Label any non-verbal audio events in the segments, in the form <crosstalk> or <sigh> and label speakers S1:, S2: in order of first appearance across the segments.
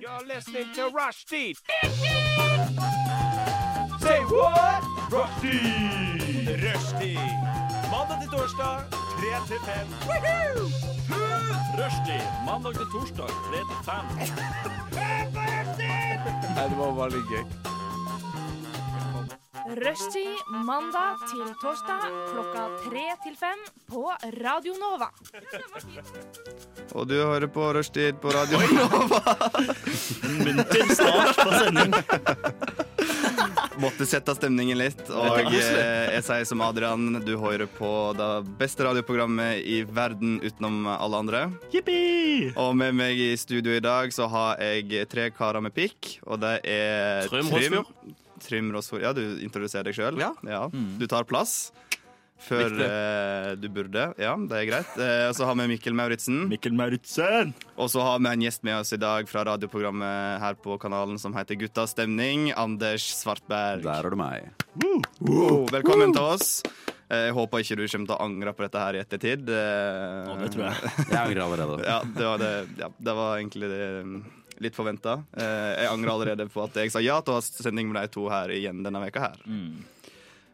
S1: You're listening to Rushdie. Say what? Rushdie. Rushdie. Mandag til torsdag, 3 til 5. Rushdie. Mandag til torsdag, 3 til 5.
S2: Rushtid mandag til torsdag klokka tre til fem på Radio Nova.
S3: Og du hører på Rushtid på Radio
S4: <laughs>
S3: Nova.
S4: Munter start på sending.
S3: <laughs> Måtte sette stemningen litt. Og eh, jeg sier som Adrian, du hører på det beste radioprogrammet i verden utenom alle andre.
S4: Jippi!
S3: Og med meg i studio i dag så har jeg tre karer med pikk, og det er
S4: Trym Rosfjord.
S3: Trym Rosfjord. Ja, du introduserer deg sjøl.
S5: Ja.
S4: Mm.
S3: Du tar plass før
S5: Viktig.
S3: eh, du burde. Ja, det er greit. Eh, og så har vi Mikkel Mauritzen.
S4: Mikkel Mauritzen.
S3: Og så har vi en gjest med oss i dag fra radioprogrammet her på kanalen som heter Guttas stemning, Anders Svartberg.
S5: Der er det meg.
S3: Wow, velkommen til oss. Eh, Jeg håper ikke du kommer til å angre på dette her i ettertid. Eh,
S4: Å, det tror jeg.
S5: Jeg angrer allerede.
S3: <laughs> Ja, det var, det, ja, det var egentlig det, mm, litt forventa. Jeg angrer allerede på at jeg sa ja til å ha sending med de to her igjen denne veka her.
S4: Mm.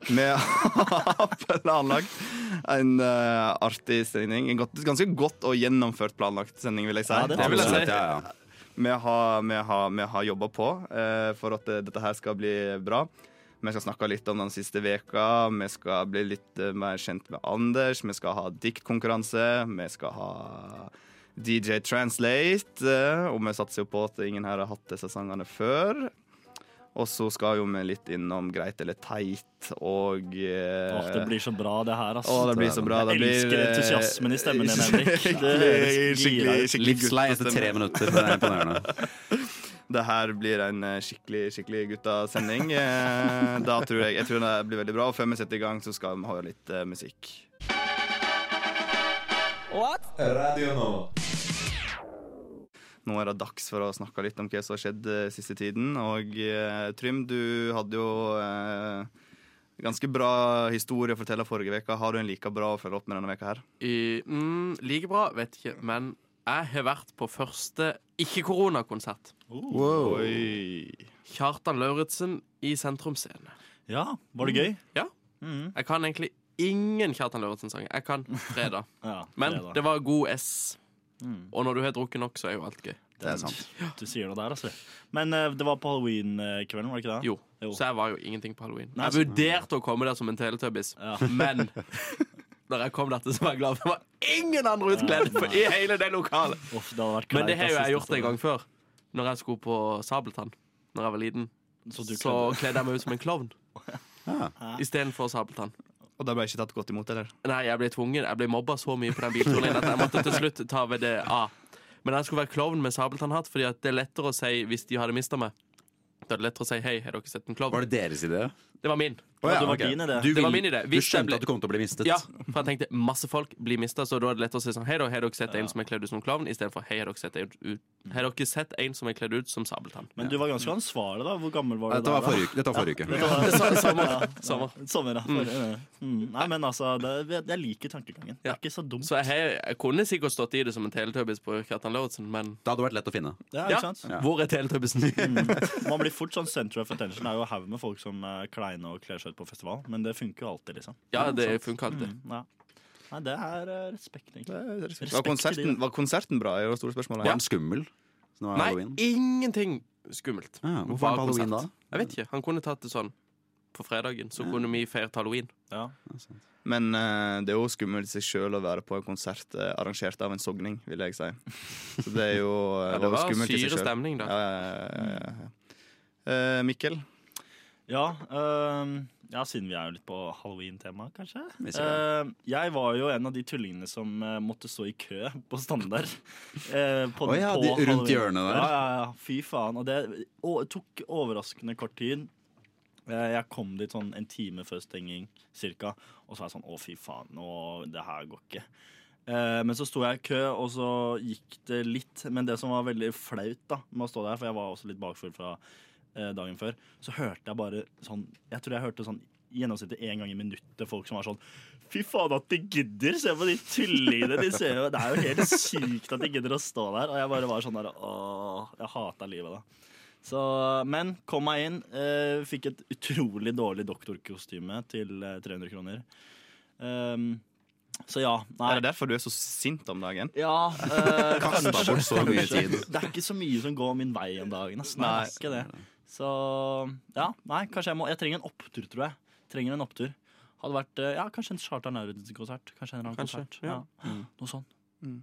S3: Vi har <laughs> planlagt en eh, artig sending. En godt, ganske godt og gjennomført planlagt sending, vil jeg si.
S4: Ja, det
S5: Det
S4: vil jeg si.
S5: Ja, ja.
S3: Vi har, vi har, vi har jobba på eh, for at eh, dette her skal bli bra. Vi skal snakke litt om den siste veka, vi skal bli litt eh, mer kjent med Anders, vi skal ha diktkonkurranse, vi skal ha DJ Translate, eh, og vi satser jo på at ingen her har hatt disse sangene før. Og så skal jo vi litt innom Greit eller teit og eh,
S4: Åh, det blir så bra, det her. ass.
S3: Å, det blir så bra. Det
S4: Jeg elsker
S3: blir, eh,
S4: entusiasmen i
S3: <laughs>
S4: stemmen din, Henrik. Det
S3: Skikkelig,
S4: høres gira
S3: skikkelig,
S4: ut.
S3: skikkelig
S5: Livslei etter
S3: guttastemning.
S5: tre minutter. Det er imponerende.
S3: Det her blir en eh, skikkelig skikkelig guttasending. Eh, Da tror jeg, jeg tror det blir veldig bra. Og før vi setter i gang, så skal vi høre litt eh, musikk. Nå er det dags for å snakke litt om hva som har skjedd eh, siste tiden. Og eh, Trym, du hadde jo eh, ganske bra historie å fortelle forrige uke. Har du en like bra å følge opp med denne veka her?
S6: I, mm, like bra, vet ikke. Men jeg har vært på første ikke-koronakonsert.
S3: Oi.
S6: Kjartan Lauritzen i Sentrum Scene.
S4: Ja, var det gøy?
S6: Ja.
S4: Mm.
S6: Jeg kan egentlig ingen Kjartan Lauritzen-sang. Jeg kan
S4: <laughs>
S6: fredag.
S4: Ja,
S6: Men
S4: var
S6: det var god S.
S4: Mm.
S6: Og når du har drukket nok, så er jo alt gøy.
S5: Det er sant.
S4: Du sier det der, altså. Men eh, det var på halloween-kvelden, var det ikke det?
S6: Jo.
S4: Jo.
S6: Så jeg var jo ingenting på halloween.
S4: Nei,
S6: Jeg
S4: så-
S6: vurderte å komme der som en teletubbies,
S4: Ja.
S6: <laughs> men når jeg kom der til, så var jeg glad for det var ingen andre utkledd på- i hele det lokalet.
S4: Uff, det hadde vært
S6: Men det
S4: kleint,
S6: har jo
S4: ass,
S6: jeg
S4: hvis
S6: gjort en gang før. Når jeg skulle på Sabeltann Når jeg var liten,
S4: Så du
S6: så kledde jeg meg ut som en klovn.
S5: Ah.
S6: Istedenfor Sabeltann.
S3: Og det ble ikke tatt godt imot, eller?
S6: Nei, jeg ble tvungen. Jeg ble mobba så mye på den bilturen at jeg måtte til slutt ta VDA. Men jeg skulle være klovn med sabeltannhatt, Fordi at det er lettere å si hvis de hadde mista meg. Da er det lettere å si 'hei, har dere sett en
S5: Var
S6: klovn?'
S5: det deres idé?
S6: Det var min.
S4: Ja, det var
S5: ok.
S4: din idé.
S5: Du,
S6: Det var
S5: vil-
S6: min idé.
S5: du
S6: Hvis jeg
S5: skjønte
S6: ble-
S5: at du kom til å bli mistet.
S6: Ja, for jeg tenkte masse folk blir mista, så da er det lettere å si sånn 'hei, da, har dere sett en som er kledd ut som klovn?' Istedenfor 'hei, har dere sett en, ut- har dere sett en som er kledd ut som sabeltann?'
S4: Men du var ganske ansvarlig, da. Hvor gammel var du
S5: Dette
S4: da?
S5: var
S4: <laughs>
S5: forrige uke. Dette var forrige uke.
S6: <laughs>
S4: var
S6: Sommer. Sommer.
S4: Sommer, ja. Forrige- Mm. Nei, men altså, det, jeg- jeg liker tankegangen. Det
S6: Ja.
S4: er ikke så dumt.
S6: Så jeg, har- jeg kunne sikkert stått i det som en teletubbies på Kjartan Lauritzen, men
S5: Det hadde vært lett å finne.
S4: Ja,
S6: Ja. Mm.
S4: ikke sant?
S6: hvor er teletubbisen?
S4: Man blir fort sånn center of attention. Det er jo haug med folk som er kleine og kler seg ut på festival, men det funker jo alltid, liksom.
S6: ja, det funka alltid.
S4: Mm, ja. Nei, det er eh, respekt, egentlig.
S3: Var
S4: Respekt til
S3: konserten,
S4: de, da.
S3: var konserten bra? er jo det store spørsmålet.
S5: Var den skummel? Så nå er det
S6: Nei,
S5: halloween.
S6: ingenting skummelt.
S5: Ja, hvorfor var det på
S6: Bare
S5: halloween da?
S6: konsert. Jeg vet ikke. Han kunne tatt det sånn på fredagen, så kunne vi feiret halloween.
S4: Ja.
S3: Men eh, det er jo skummelt i seg sjøl å være på en konsert eh, arrangert av en sogning, vil jeg si. Så det er jo eh,
S6: <laughs> Ja, det
S3: jo
S6: var
S3: skummelt i seg
S6: syre
S3: selv.
S6: stemning, da.
S3: Ja, ja, ja, ja, ja. Eh, Mikkel,
S4: Ja, øhm, ja, siden vi er jo litt på halloween-tema, kanskje.
S5: Vi ser
S4: Øhm, jeg var jo en av de tullingene som eh, måtte stå i kø <laughs> på Standard. eh, på
S5: Å ja,
S4: på
S5: de rundt
S4: halloween.
S5: hjørnet der.
S4: Ja, ja, ja, fy faen. Og det å- tok overraskende kort tid. Eh, Jeg kom dit sånn en time før stenging, cirka. Og så var jeg sånn, å fy faen, nå, det her går ikke. Eh, Men så sto jeg i kø, og så gikk det litt. Men det som var veldig flaut da, med å stå der, for jeg var også litt bakfull fra eh, dagen før, så hørte jeg bare sånn Jeg tror jeg hørte sånn gjennomsnittet én gang i minuttet folk som er sånn Fy faen at de gidder! Se på de tullingene! De ser jo, det er jo helt sykt at de gidder å stå der. Og jeg bare var sånn der Åh, jeg hata livet da. Så, men kom meg inn. eh, fikk et utrolig dårlig doktorkostyme til eh, 300 kroner. Ehm, så ja. Nei.
S3: Er det derfor du er så sint om dagen?
S4: Ja, eh,
S5: Kasta
S4: kanskje.
S5: bort så mye tid.
S4: Det er ikke så mye som går min vei om dagen. Ass. Nei,
S3: Nei.
S4: det er ikke det. Så ja, nei, kanskje jeg må Jeg trenger en opptur, tror jeg. Trenger en opptur. Hadde vært eh, ja, kanskje en Charter Naurud-konsert. Kanskje en eller annen
S6: Kanskje,
S4: konsert. Ja.
S6: ja.
S4: Noe sånt. Mm.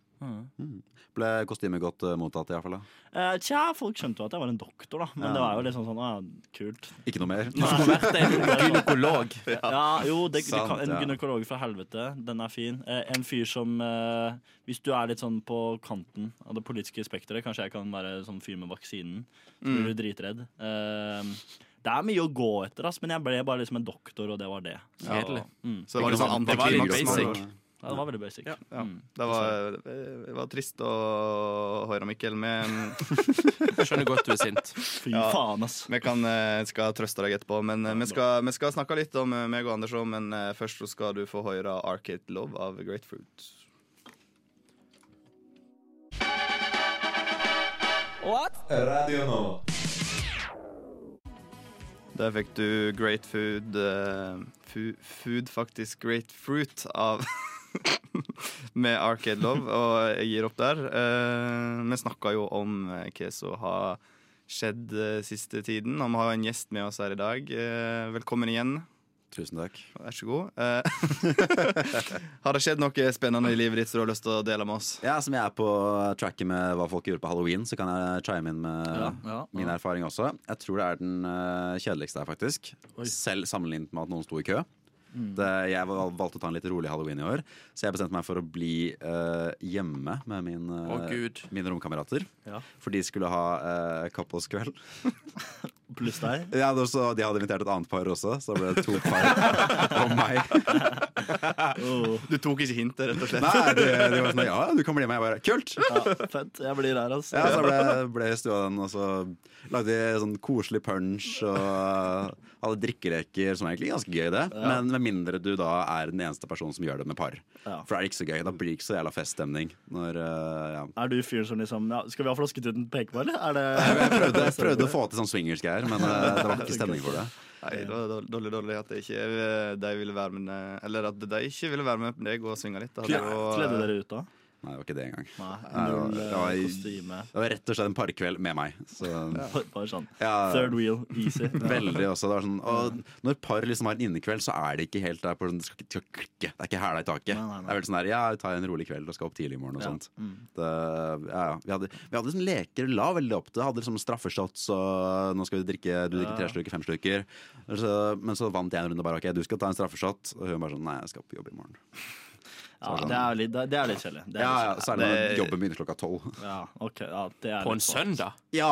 S5: Ble kostymet godt eh, mottatt, iallfall?
S4: Eh, tja, folk skjønte jo at jeg var en doktor, da. Men det var jo liksom sånn ah,
S5: <laughs>
S4: kult.
S5: Ikke noe mer?
S6: Du skulle vært en gynekolog.
S4: Ja, jo, det, det
S5: Sant,
S4: kan, en
S5: ja.
S4: gynekolog fra helvete. Den er fin. Eh, en fyr som eh, Hvis du er litt sånn på kanten av det politiske spekteret, kanskje jeg kan være sånn fyr med vaksinen, så blir du dritredd. Eh, det er mye å gå etter, ass, men jeg ble bare liksom en doktor, og det var det. Mm.
S6: Kjedelig.
S3: Så det var litt sånn
S6: Det var litt
S3: antiklimaks.
S6: basic.
S3: nå.
S4: Ja, det var veldig Mm. basic.
S6: Ja.
S3: Ja, det var, eh, det var trist å høre, Mikkel. Vi,
S6: Jeg skjønner godt du er sint.
S4: Fy
S3: Ja.
S4: faen, ass.
S3: vi kan, eh, skal trøste deg etterpå. Men eh, vi skal, vi skal snakke litt om eh, meg og Anders òg, men eh, først så skal du få høre Arcade Love av Grapefruit. Der fikk du Great Food eh, fu, Food, faktisk Great Fruit av <laughs> Med Arcade Love, og jeg gir opp der. Eh, vi snakka jo om eh, hva som har skjedd eh, siste tiden, og vi har en gjest med oss her i dag. Eh, velkommen igjen.
S5: Tusen takk.
S3: Vær så god. Eh, <laughs> har det skjedd noe spennende i livet ditt som du har lyst til å dele med oss?
S5: Ja, Som jeg er på tracket med hva folk gjorde på halloween, så kan jeg chime inn med
S4: Ja, ja.
S5: min erfaring også. Jeg tror det er den eh, kjedeligste her, faktisk. Selv sammenlignet med at noen sto i kø. Det, jeg val- valgte å ta en litt rolig halloween i år, så jeg bestemte meg for å bli eh, hjemme med min, eh,
S6: Å, Gud.
S5: mine romkamerater.
S4: Ja.
S5: For de skulle ha uh, couples-kveld.
S4: Pluss deg.
S5: Ja, det var så, De hadde invitert et annet par også, så da ble det to par og meg.
S4: Oh,
S3: Du tok ikke hintet, rett og slett?
S5: Nei, de, de var sånn Ja, du kan bli med. Jeg bare Kult!
S4: ja, fett. Jeg blir her, ass.
S5: Ja, så ble, ble jeg stua den, og så lagde vi sånn koselig punch og hadde drikkeleker, som er egentlig ganske gøy, det. Men med mindre du da er den eneste personen som gjør det med par.
S4: Ja.
S5: For det er ikke så gøy. Da blir det ikke så jævla feststemning. Når, eh, ja.
S4: Er du fyren som liksom ja, Skal vi ha flasketuten peke på, eller? Er det
S5: jeg, prøvde, jeg prøvde å få til sånn swingers-greier, men eh, det var ikke stemning for det.
S3: Nei, det var dårlig, dårlig, dårlig at de ikke, eh, de ville være med Eller at de ikke ville være med på deg og svinge litt. Det hadde jo-
S4: Kledde dere ut da?
S5: Nei, det var ikke det engang.
S4: Nei.
S5: Nei, det var-
S4: Null
S5: det
S4: eh,
S5: var i-
S4: kostyme.
S5: Det var rett og slett en parkveld med meg. Så
S4: Bare- Bare sånn.
S5: Ja.
S4: Third wheel, easy.
S5: Veldig også. Det var sånn, og når par liksom har en innekveld, så er det ikke helt der på sånn, det skal, ikke- skal klikke. Det er ikke hæla i taket.
S4: Nei, nei, nei.
S5: Det er veldig sånn der, ja, vi tar en rolig kveld og skal opp tidlig i morgen og
S4: Ja. mm.
S5: sånt. Det, ja, ja. Vi hadde, vi hadde liksom leker la veldig opp til. det. Hadde liksom straffeshots og nå skal vi drikke, du drikker tre slukker, fem slukker. Så, men så vant jeg en runde bare, ok, du skal ta en straffeshot. Og hun bare sånn, nei, jeg skal på jobb i morgen.
S4: Ja, det er litt, det er litt kjedelig. Det er
S5: Ja, ja,
S4: litt kjedelig.
S5: særlig når jobben begynner klokka tolv. <laughs>
S4: ja, ok, ja, det er
S6: På en
S4: litt sånn.
S6: søndag?
S5: Ja,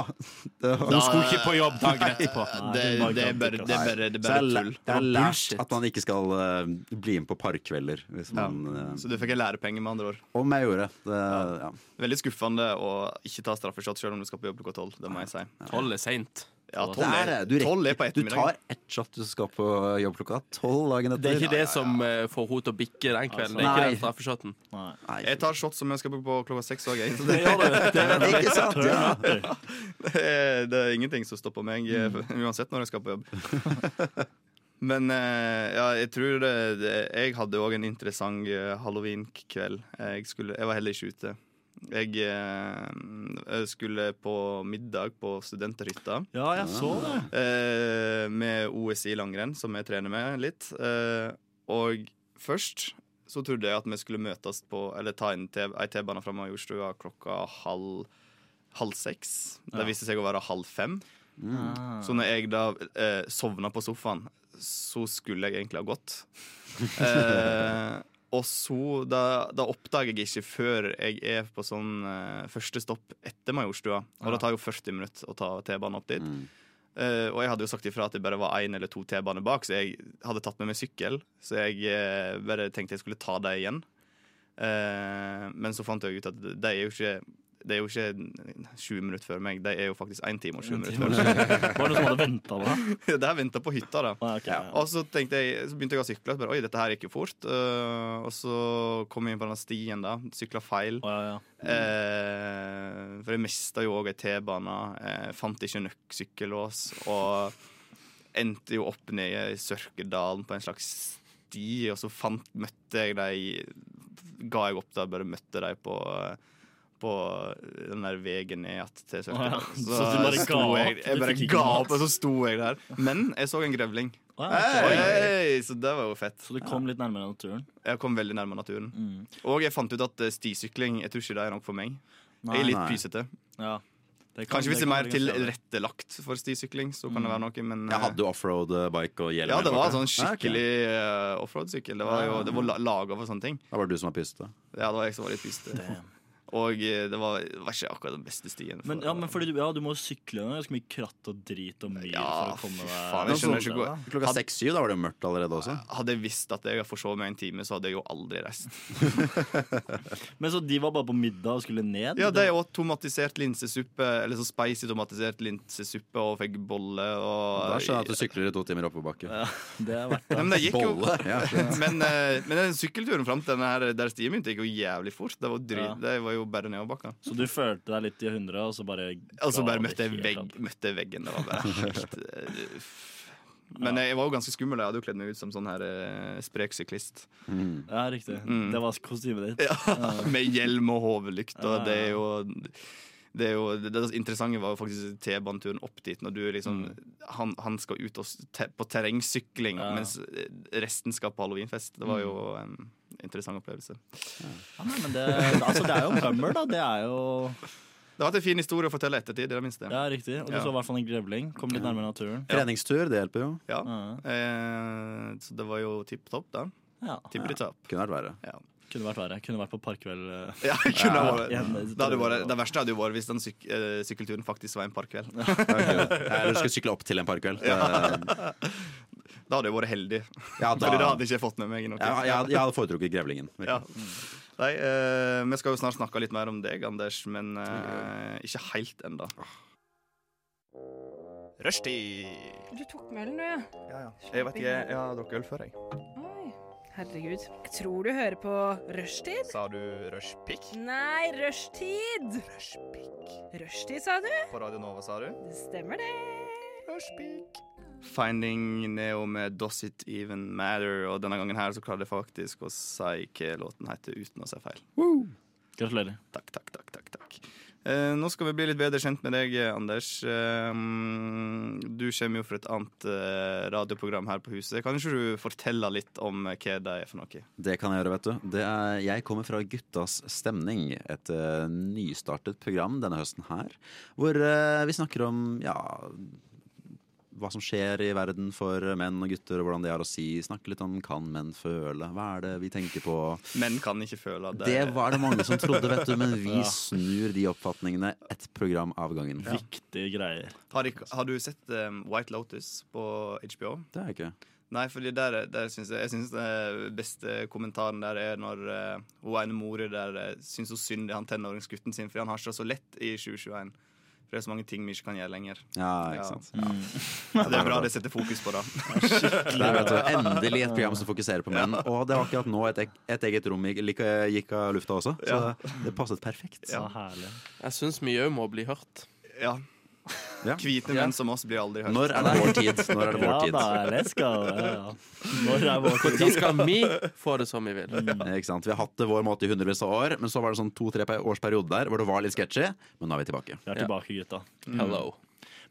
S5: det var...
S6: Hun skulle ikke på jobb dagen etterpå.
S4: Nei,
S3: eh, Det, det,
S4: var ikke
S3: er
S4: sant,
S3: bare,
S4: ikke
S3: det, er
S4: sant.
S3: bare, det er
S5: Så jeg,
S3: bare
S5: har læ-
S3: tull.
S5: jeg har lært
S6: bullshit.
S5: at man ikke skal eh, bli med på parkkvelder hvis man, eh,
S3: Så du fikk en lærepenger, med andre ord.
S5: Om jeg gjorde. Det, ja.
S3: Veldig skuffende å ikke ta straffeshot selv om du skal på jobb klokka tolv. Det må jeg si.
S6: Tolv er seint.
S3: Ja,
S6: Det
S3: tolv
S5: Det
S3: er,
S5: er det. Du rekker-
S3: tolv er på
S5: Du
S3: ettermiddagen.
S5: tar ett shot du skal på jobb klokka tolv dagen etter.
S6: Det er ikke det som eh, får henne til å bikke den kvelden. Det er
S5: Nei.
S6: ikke den straffeshoten.
S4: Nei.
S5: Nei,
S3: Jeg tar shot som jeg skal på på klokka seks òg, jeg. Så det,
S6: Det gjør du. Det er
S5: ikke sant? Ja.
S3: det, er- Eh, det er ingenting som stopper meg, eh, <laughs> uansett når jeg skal på jobb. <laughs> Men eh, ja, jeg tror det, det, Jeg hadde òg en interessant eh, halloween-kveld. Jeg, skulle- jeg var heller ikke ute. Jeg eh, skulle på middag på studenthytta.
S4: Ja, jeg så det.
S3: eh, med OSI langrenn, som jeg trener med litt. Eh, og først så trodde jeg at vi skulle møtes på Eller ta en T- ei T-bane fra Majorstua klokka halv Halv seks. Det viste seg å være halv fem. Så når jeg da eh, sovna på sofaen, så skulle jeg egentlig ha gått. Eh, og så da, da oppdager jeg ikke før jeg er på sånn eh, første stopp etter Majorstua. Og det tar jo 40 minutter å ta T-banen opp dit. Eh, og jeg hadde jo sagt ifra at det bare var én eller to T-baner bak, så jeg hadde tatt med meg sykkel. Så jeg eh, bare tenkte jeg skulle ta dem igjen. Eh, men så fant jeg ut at de er jo ikke det er jo ikke 20 minutter før meg, de er jo faktisk 1 time og 20 minutter før meg.
S4: Var det noen som hadde venta da?
S3: <laughs> Det her venta på hytta, da.
S4: Ah, ok, ja.
S3: Og så, tenkte jeg, så begynte jeg å sykle. og så Bare, Oi, dette her gikk jo fort. Eh, og så kom jeg inn på den stien, da. Sykla feil.
S4: Å, ja, ja.
S3: Eh, for jeg mista jo òg ei T-bane. Eh, fant ikke nok sykkellås. Og endte jo opp nede i Sørkedalen på en slags sti, og så fant, møtte jeg de Ga jeg opp da, bare møtte de på på den der veien ned att til
S4: <laughs>
S3: Sørkedalen.
S4: Å ja, så du bare ga
S3: sto
S4: opp?
S3: Jeg, jeg
S4: Du
S3: bare
S4: fikk ikke
S3: ga
S4: mat?
S3: opp, og så sto jeg der. Men jeg så en grevling.
S4: Å, ja, ok.
S3: Hei, så det var jo fett.
S4: Så du kom litt nærmere naturen?
S3: Jeg kom veldig nærme naturen.
S4: Mm.
S3: Og jeg fant ut at eh, stisykling jeg tror ikke det er nok for meg.
S4: Nei,
S3: jeg er litt
S5: nei.
S3: pysete.
S4: Ja. Det kan-
S3: Kanskje hvis det er
S4: det kan
S3: mer
S4: bli ganske jævlig.
S3: tilrettelagt for stisykling, så kan det være noe, men
S5: Jeg hadde Ah, jo offroad-bike og hjelm.
S3: ja, det var
S5: eller noe.
S3: sånn skikkelig eh, offroad-sykkel. Det var jo det var la- laga for sånne ting.
S5: Da var det du som var pysete.
S3: Ja, det var jeg som var litt pysete. Og eh, det var, det var ikke akkurat den beste stien. for-
S4: Men, ja, men fordi du, ja, du må jo sykle det er ganske mye kratt og drit og myr
S3: Ja,
S4: for å komme
S3: fy
S4: deg
S3: faen, jeg skjønner ikke hvor
S5: Klokka seks-syv, da var det jo mørkt allerede også.
S3: Hadde jeg visst at jeg forsov meg en time, så hadde jeg jo aldri reist.
S4: Men så de var bare på middag og skulle ned?
S3: Ja, de åt tomatisert linsesuppe, eller så spicy tomatisert linsesuppe, og fikk bolle og
S5: Da skjønner jeg at du sykler i to timer oppoverbakke.
S4: Ja, det er verdt
S3: Nei,
S4: det.
S3: men det gikk jo
S5: Bolle. Ja,
S3: <laughs> men, eh, men den sykkelturen fram til denne her, der stien min gikk jo jævlig fort. Det var, dry,
S4: Ja.
S3: det var jo bare nedoverbakka.
S4: Så du følte deg litt i hundre, og så bare
S3: Og så
S4: ga
S3: bare
S4: det
S3: møtte jeg,
S4: helt
S3: vegg,
S4: opp.
S3: møtte jeg veggen. Det var
S4: <laughs>
S3: bare helt eh, uff. Men jeg var jo ganske skummel. Jeg hadde jo kledd meg ut som sånn her eh, sprek syklist.
S4: Ja, riktig. Det var kostymet ditt.
S3: Mm. Ja, <laughs> Med hjelm og hodelykt, og
S4: Ja, ja,
S3: det er jo det, er jo, det, det interessante var jo faktisk T-baneturen opp dit. Når du er liksom han, han skal ut og, s- te, på terrengsykling,
S4: Mm. Ja. Mm.
S3: mens eh, resten skal på halloweenfest. Det var jo en interessant opplevelse.
S4: Ja, nei, men det, altså, det er jo en bummer, da. Det er jo
S3: Det har vært en fin historie å fortelle ettertid, i det minste.
S4: Ja, riktig. Og du
S3: Ja.
S4: så i hvert fall en grevling. Kom litt nærmere naturen.
S5: Treningstur, det hjelper jo.
S3: Ja.
S4: Ja.
S3: Eh, så det var jo tipp topp, da.
S4: Ja.
S3: Tipp topp.
S5: Kunne vært verre.
S3: Ja.
S4: Kunne vært verre. Kunne vært på parkkveld. eh.
S3: <laughs> Ja, jeg kunne ha vært-
S4: Ja, igjen,
S3: det, hadde vært, det verste hadde jo vært hvis den syk, eh, sykkelturen faktisk var en parkkveld. Da
S5: Eller du skal sykle opp til en parkkveld. Det-
S3: hadde jeg vært heldig,
S5: Ja,
S3: Fordi da
S5: da
S3: hadde jeg ikke fått med meg noe.
S5: Ja, jeg, jeg hadde foretrukket Grevlingen.
S3: Ja. Nei, eh, vi skal jo snart snakke litt mer om deg, Anders, men eh, ikke helt ennå. Rushtid!
S2: Du tok med den, du, ja.
S3: Jeg vet ikke, jeg har drukket øl før, jeg.
S2: Oi. Herregud. Jeg tror du hører på rushtid.
S3: Sa du rushpick?
S2: Nei, rushtid! Rushtid, sa du?
S3: På Radio Nova, sa du?
S2: Det stemmer, det.
S3: Finding Neo med Does It Even Matter, og denne gangen her så klarte jeg faktisk å si hva låten heter uten å si feil.
S4: Gratulerer.
S3: Takk, takk, takk, takk, takk. Eh, nå skal vi bli litt bedre kjent med deg, Anders. Eh, mm, du kommer jo fra et annet eh, radioprogram her på huset. Kan ikke du fortelle litt om eh, hva det er for noe?
S5: Det kan jeg gjøre, vet du. Det er, jeg kommer fra Guttas stemning, et eh, nystartet program denne høsten her. Hvor eh, vi snakker om ja, hva som skjer i verden for menn og gutter, og hvordan det har å si. Snakke litt om kan menn føle? Hva er det vi tenker på?
S3: Menn kan ikke føle at det,
S5: Det var det mange som trodde, vet du, <laughs> men vi snur de oppfatningene ett program av gangen.
S4: Viktige greier.
S3: har, ikk- har du sett eh, White Lotus på HBO?
S5: Det er ikke
S3: Nei, fordi der, der syns jeg Jeg syns den beste kommentaren der er når eh, hun ene mora der eh, syns hun synd i han tenåringsgutten sin, fordi han har seg så lett i 2021. For det er så mange ting vi ikke kan gjøre lenger.
S5: Ja,
S3: Ja.
S5: ikke sant.
S3: Så det er bra det setter fokus på det.
S5: Der, vet du, endelig et program som fokuserer på menn. Og det var akkurat nå et, eg- et eget rom gikk, like, gikk av lufta også, så det passet perfekt.
S4: Så herlig.
S6: Jeg syns mye òg må bli hørt.
S3: Ja.
S5: Ja.
S3: Hvite menn som oss blir aldri hørt.
S5: Når er det vår tid? Når er det vår
S4: Ja
S5: tid?
S4: da, let's go. Ja, ja. Når er vår
S6: Når skal vi få det som vi vil?
S5: Ikke sant? Vi har hatt det vår måte i hundrevis av år, men så var det sånn to-tre pe- års periode der hvor det var litt sketchy, men nå er vi tilbake.
S4: Vi er tilbake, gutta.
S6: Hello.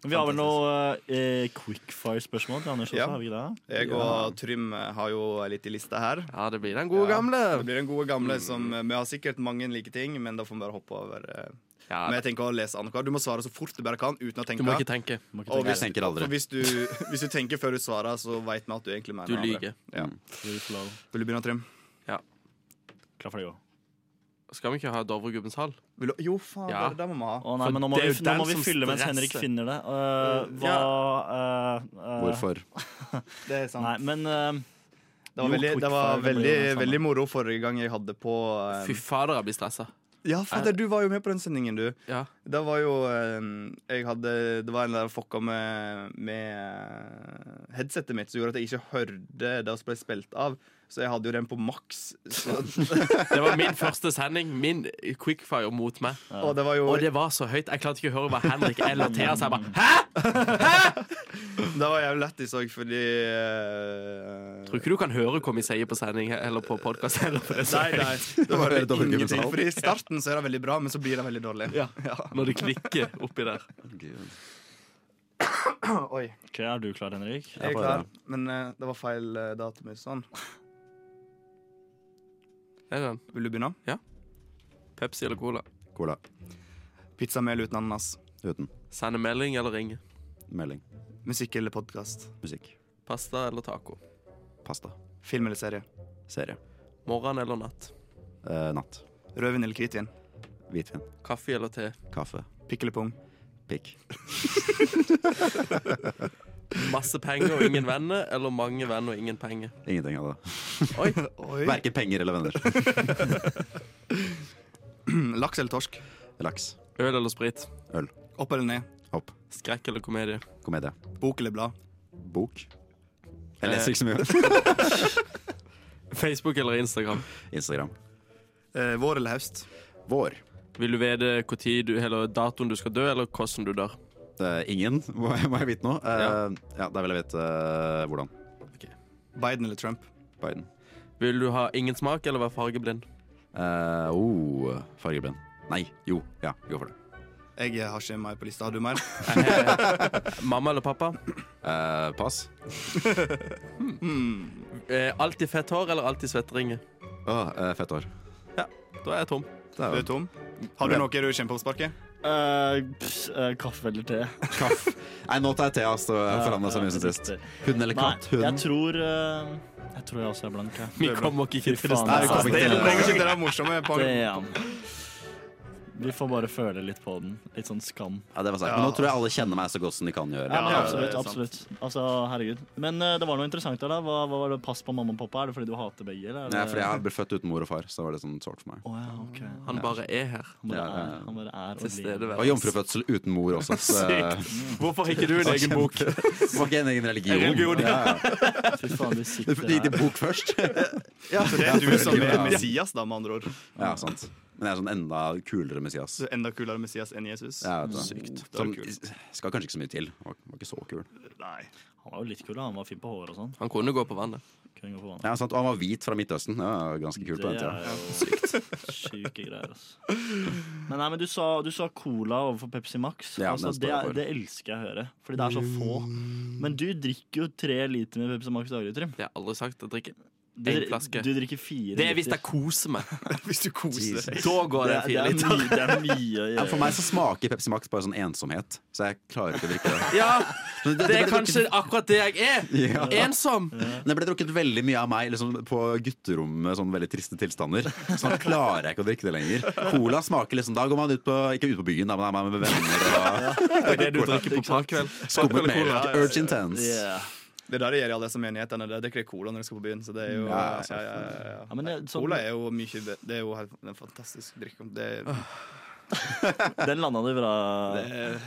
S4: Men vi har vel noen eh, quickfire-spørsmål til Anders også,
S3: Ja.
S4: har vi ikke det?
S3: Jeg og Trym eh, har jo ei lita liste her.
S6: Ja, det blir den gode gamle.
S3: Det blir den gode gamle som eh, Vi har sikkert mange like ting, men da får vi bare hoppe over. eh.
S6: Ja,
S3: Men jeg tenker å lese annenhver. Du må svare så fort du bare kan, uten å
S6: du
S3: tenke.
S6: må ikke tenke.
S4: Må ikke
S3: Og
S5: Jeg
S3: hvis,
S5: tenker
S3: for
S5: aldri.
S3: hvis, du, hvis du tenker før du svarer, så veit vi at du egentlig mener
S6: Du
S3: det andre.
S6: lyver.
S3: Ja.
S4: Free flow.
S3: Vil du begynne, Trym?
S4: Klar for det, gå.
S6: Skal vi ikke ha Dovregubbens hall?
S3: Vil du? Jo, faen,
S6: Ja.
S3: det, det må vi ha.
S4: Å nei,
S6: For
S4: men nå må,
S6: det
S4: vi,
S6: er jo
S4: nå
S6: den
S4: må vi
S6: som
S4: fylle mens
S6: stresser.
S4: Henrik finner det. Eh, hva eh, eh,
S5: Hvorfor?
S3: Det er sant.
S4: Nei, men eh,
S3: det var
S4: jo,
S3: veldig, det
S4: quickfire,
S3: var
S4: det blir
S3: veldig,
S4: jo det samme.
S3: veldig moro forrige gang jeg hadde på eh,
S6: Fy fader, jeg blir stressa.
S3: Ja, fader, du var jo med på den sendingen, du.
S6: Ja.
S3: Det var jo eh, Jeg hadde Det var en der fokka med, med headsetet mitt som gjorde at jeg ikke hørte det som ble spilt av. Så jeg hadde jo den på maks. Så,
S6: Det var min første sending. Min quickfire mot meg.
S3: og det var jo
S6: Og
S3: det,
S6: det var så høyt. Jeg klarte ikke å høre hva Henrik eller Thea sa. Jeg bare Hæ?!
S3: var jævlig lættis òg, fordi eh,
S6: Tror ikke du kan høre hva vi sier på sending eller på podkast.
S3: Nei, nei. Det var
S5: var helt dobbelt
S3: ingenting.
S5: gubbesal.
S3: Fordi I starten så er det veldig bra, men så blir det veldig dårlig.
S6: Ja. sånn?" Når det klikker oppi der.
S3: <laughs> Oi.
S4: Ok, Er du klar, Henrik?
S3: Jeg er
S5: bare
S3: klar, men eh, det var feil uh, datum. Sånn.
S6: Er det den?
S3: Vil du begynne?
S6: Pepsi eller Cola?
S5: Cola
S3: Pizza, mel uten ananas.
S5: uten
S6: Sende melding eller ringe?
S5: melding.
S3: Musikk eller podkast.
S5: Musikk.
S6: Pasta eller taco?
S5: Pasta.
S3: Film eller serie.
S5: Serie.
S6: Morgen eller natt?
S5: Eh, natt.
S3: Rødvin eller hvitvin.
S5: Hvitvin.
S6: Kaffe eller te?
S5: Kaffe.
S3: Pikk eller pung.
S5: Pikk.
S6: Masse penger og ingen venner, eller mange venner og ingen penger?
S5: Ingenting av det.
S6: Oi,
S3: Oi.
S5: Verken penger eller <laughs> venner.
S3: Laks eller torsk.
S5: Laks.
S6: Øl eller sprit?
S5: Øl.
S3: Opp eller ned.
S5: Hopp.
S6: Skrekk eller komedie?
S5: Komedie.
S3: Bok eller blad.
S5: Bok. Jeg leser ikke så mye.
S6: Facebook eller Instagram?
S5: <laughs> Instagram.
S3: Eh, vår eller høst.
S5: Vår.
S6: Vil du vite hvor tid du, eller datoen du skal dø, eller hvordan du dør?
S5: Eh, ingen, må jeg, må jeg vite nå. Eh,
S6: Ja.
S5: ja, da vil jeg vite eh, hvordan.
S3: Biden eller Trump.
S5: Biden.
S6: Vil du ha ingen smak, eller være fargeblind?
S5: Eh, oh, fargeblind. Nei. Jo. Ja, gå for det.
S3: Jeg har ikke meg på lista. Har du mer?
S6: Eh, Mamma eller pappa?
S5: Eh, pass.
S6: Eh, alltid fett hår, eller alltid svetteringer?
S5: Åh, eh, fett hår.
S6: Da er jeg tom.
S5: Det
S3: Du
S5: er
S3: er
S5: jo
S3: tom. Har du noe du kjenner på sparket?
S4: Eh, pff, eh, kaffe eller te?
S5: kaff. <laughs> Nei, nå tar jeg Thea, så jeg forandra så mye som sist. Hund eller
S4: Eh, Nei,
S5: katt?
S4: jeg
S5: Hund.
S4: tror eh, Jeg tror jeg også er blank. jeg.
S6: Vi kommer nok ikke til det
S4: faen, altså.
S5: vi kommer
S6: stedet.
S5: ikke til
S3: Det
S5: det.
S3: er ikke det der morsomme. på-
S4: Damn. Vi får bare føle litt på den. Litt sånn skam.
S5: Ja, det var sagt. Men nå tror jeg alle kjenner meg så godt som de kan gjøre.
S4: Ja, men
S3: ja,
S4: absolutt.
S3: det er
S4: absolutt Altså, herregud Men eh, det var noe interessant der. da Hva, hva var det pass på mamma og pappa? Er det fordi du hater begge? Eller? er
S5: Nei,
S4: det-
S5: fordi jeg ble født uten mor og far, så det var det sånn sårt for meg.
S4: Å ja, ok Han
S6: Han bare er her.
S4: bare
S5: Ja, ja,
S4: er,
S5: ja.
S4: han bare er
S6: Til stede.
S5: Og jomfrufødsel uten mor også. Så det
S6: Hvorfor har ikke du en egen bok?
S5: var ikke en egen religion.
S6: Religion,
S5: ja. ja.
S4: Fy faen, du
S5: Det
S4: sitter
S5: gikk til
S4: her.
S5: bok først.
S3: Så det er du som er
S5: Ja.
S3: Messias, da, med andre ord.
S5: Ja, sant. Men jeg er sånn enda kulere Messias.
S3: Så enda kulere Messias enn Jesus.
S5: Jeg vet det.
S3: Sykt. Det er
S5: Som,
S3: kult.
S5: skal kanskje ikke så mye til. Var, var ikke så kul.
S3: Nei.
S4: Han var jo litt kul, da. han var fin på håret og sånn.
S6: Han kunne gå på vannet.
S4: Kunne gå på vannet.
S5: Ja, sant. Og han var hvit fra Midtøsten. Det var ganske kult på den
S4: Det
S5: tida.
S4: er jo sykt. Syke greier, altså. Men, nei, men du, sa, du sa cola overfor Pepsi Max.
S5: Ja,
S4: altså,
S5: den står
S4: det,
S5: jeg
S4: er-
S5: for.
S4: det elsker jeg å høre, fordi det er så få. Men du drikker jo tre liter med Pepsi Max daglig, Trym.
S6: Det har jeg aldri sagt. Jeg drikker.
S4: Du,
S6: En flaske.
S4: du drikker fire
S6: Det er hvis
S4: liter.
S6: jeg koser meg.
S3: Hvis du koser deg.
S6: Da går det
S4: det,
S6: fire
S4: er <laughs>
S6: liter.
S4: mye, det er
S6: <laughs>
S4: mye å
S5: Ja,
S4: gjøre.
S5: for meg så smaker Pepsi Max bare sånn ensomhet, så jeg klarer ikke å drikke det.
S6: Ja,
S5: Så det,
S6: det
S5: det
S6: er
S5: ble
S6: kanskje
S5: drukket,
S6: akkurat det jeg er.
S5: Ja.
S6: Ensom.
S5: det ble drukket veldig mye av meg liksom, på gutterommet, sånn veldig triste tilstander. Så nå klarer jeg ikke å drikke det lenger. Cola smaker liksom Da går man ut på Ikke ut på byen, da, men da er man med venner og
S6: Det er det du drikker på parkveld.
S5: skummer mer.
S3: ja, ja.
S5: Urge intense.
S4: Yeah.
S3: Det er der det gjør i alle disse menighetene. Der drikker de cola når de skal på byen. Så det er jo, ja,
S5: Ja,
S3: ja, ja, ja.
S4: Ja, men det- sånn-
S3: Cola er jo mye be- Det er jo helt- en fantastisk drikk. Det,
S4: Den landa du bra,
S3: det,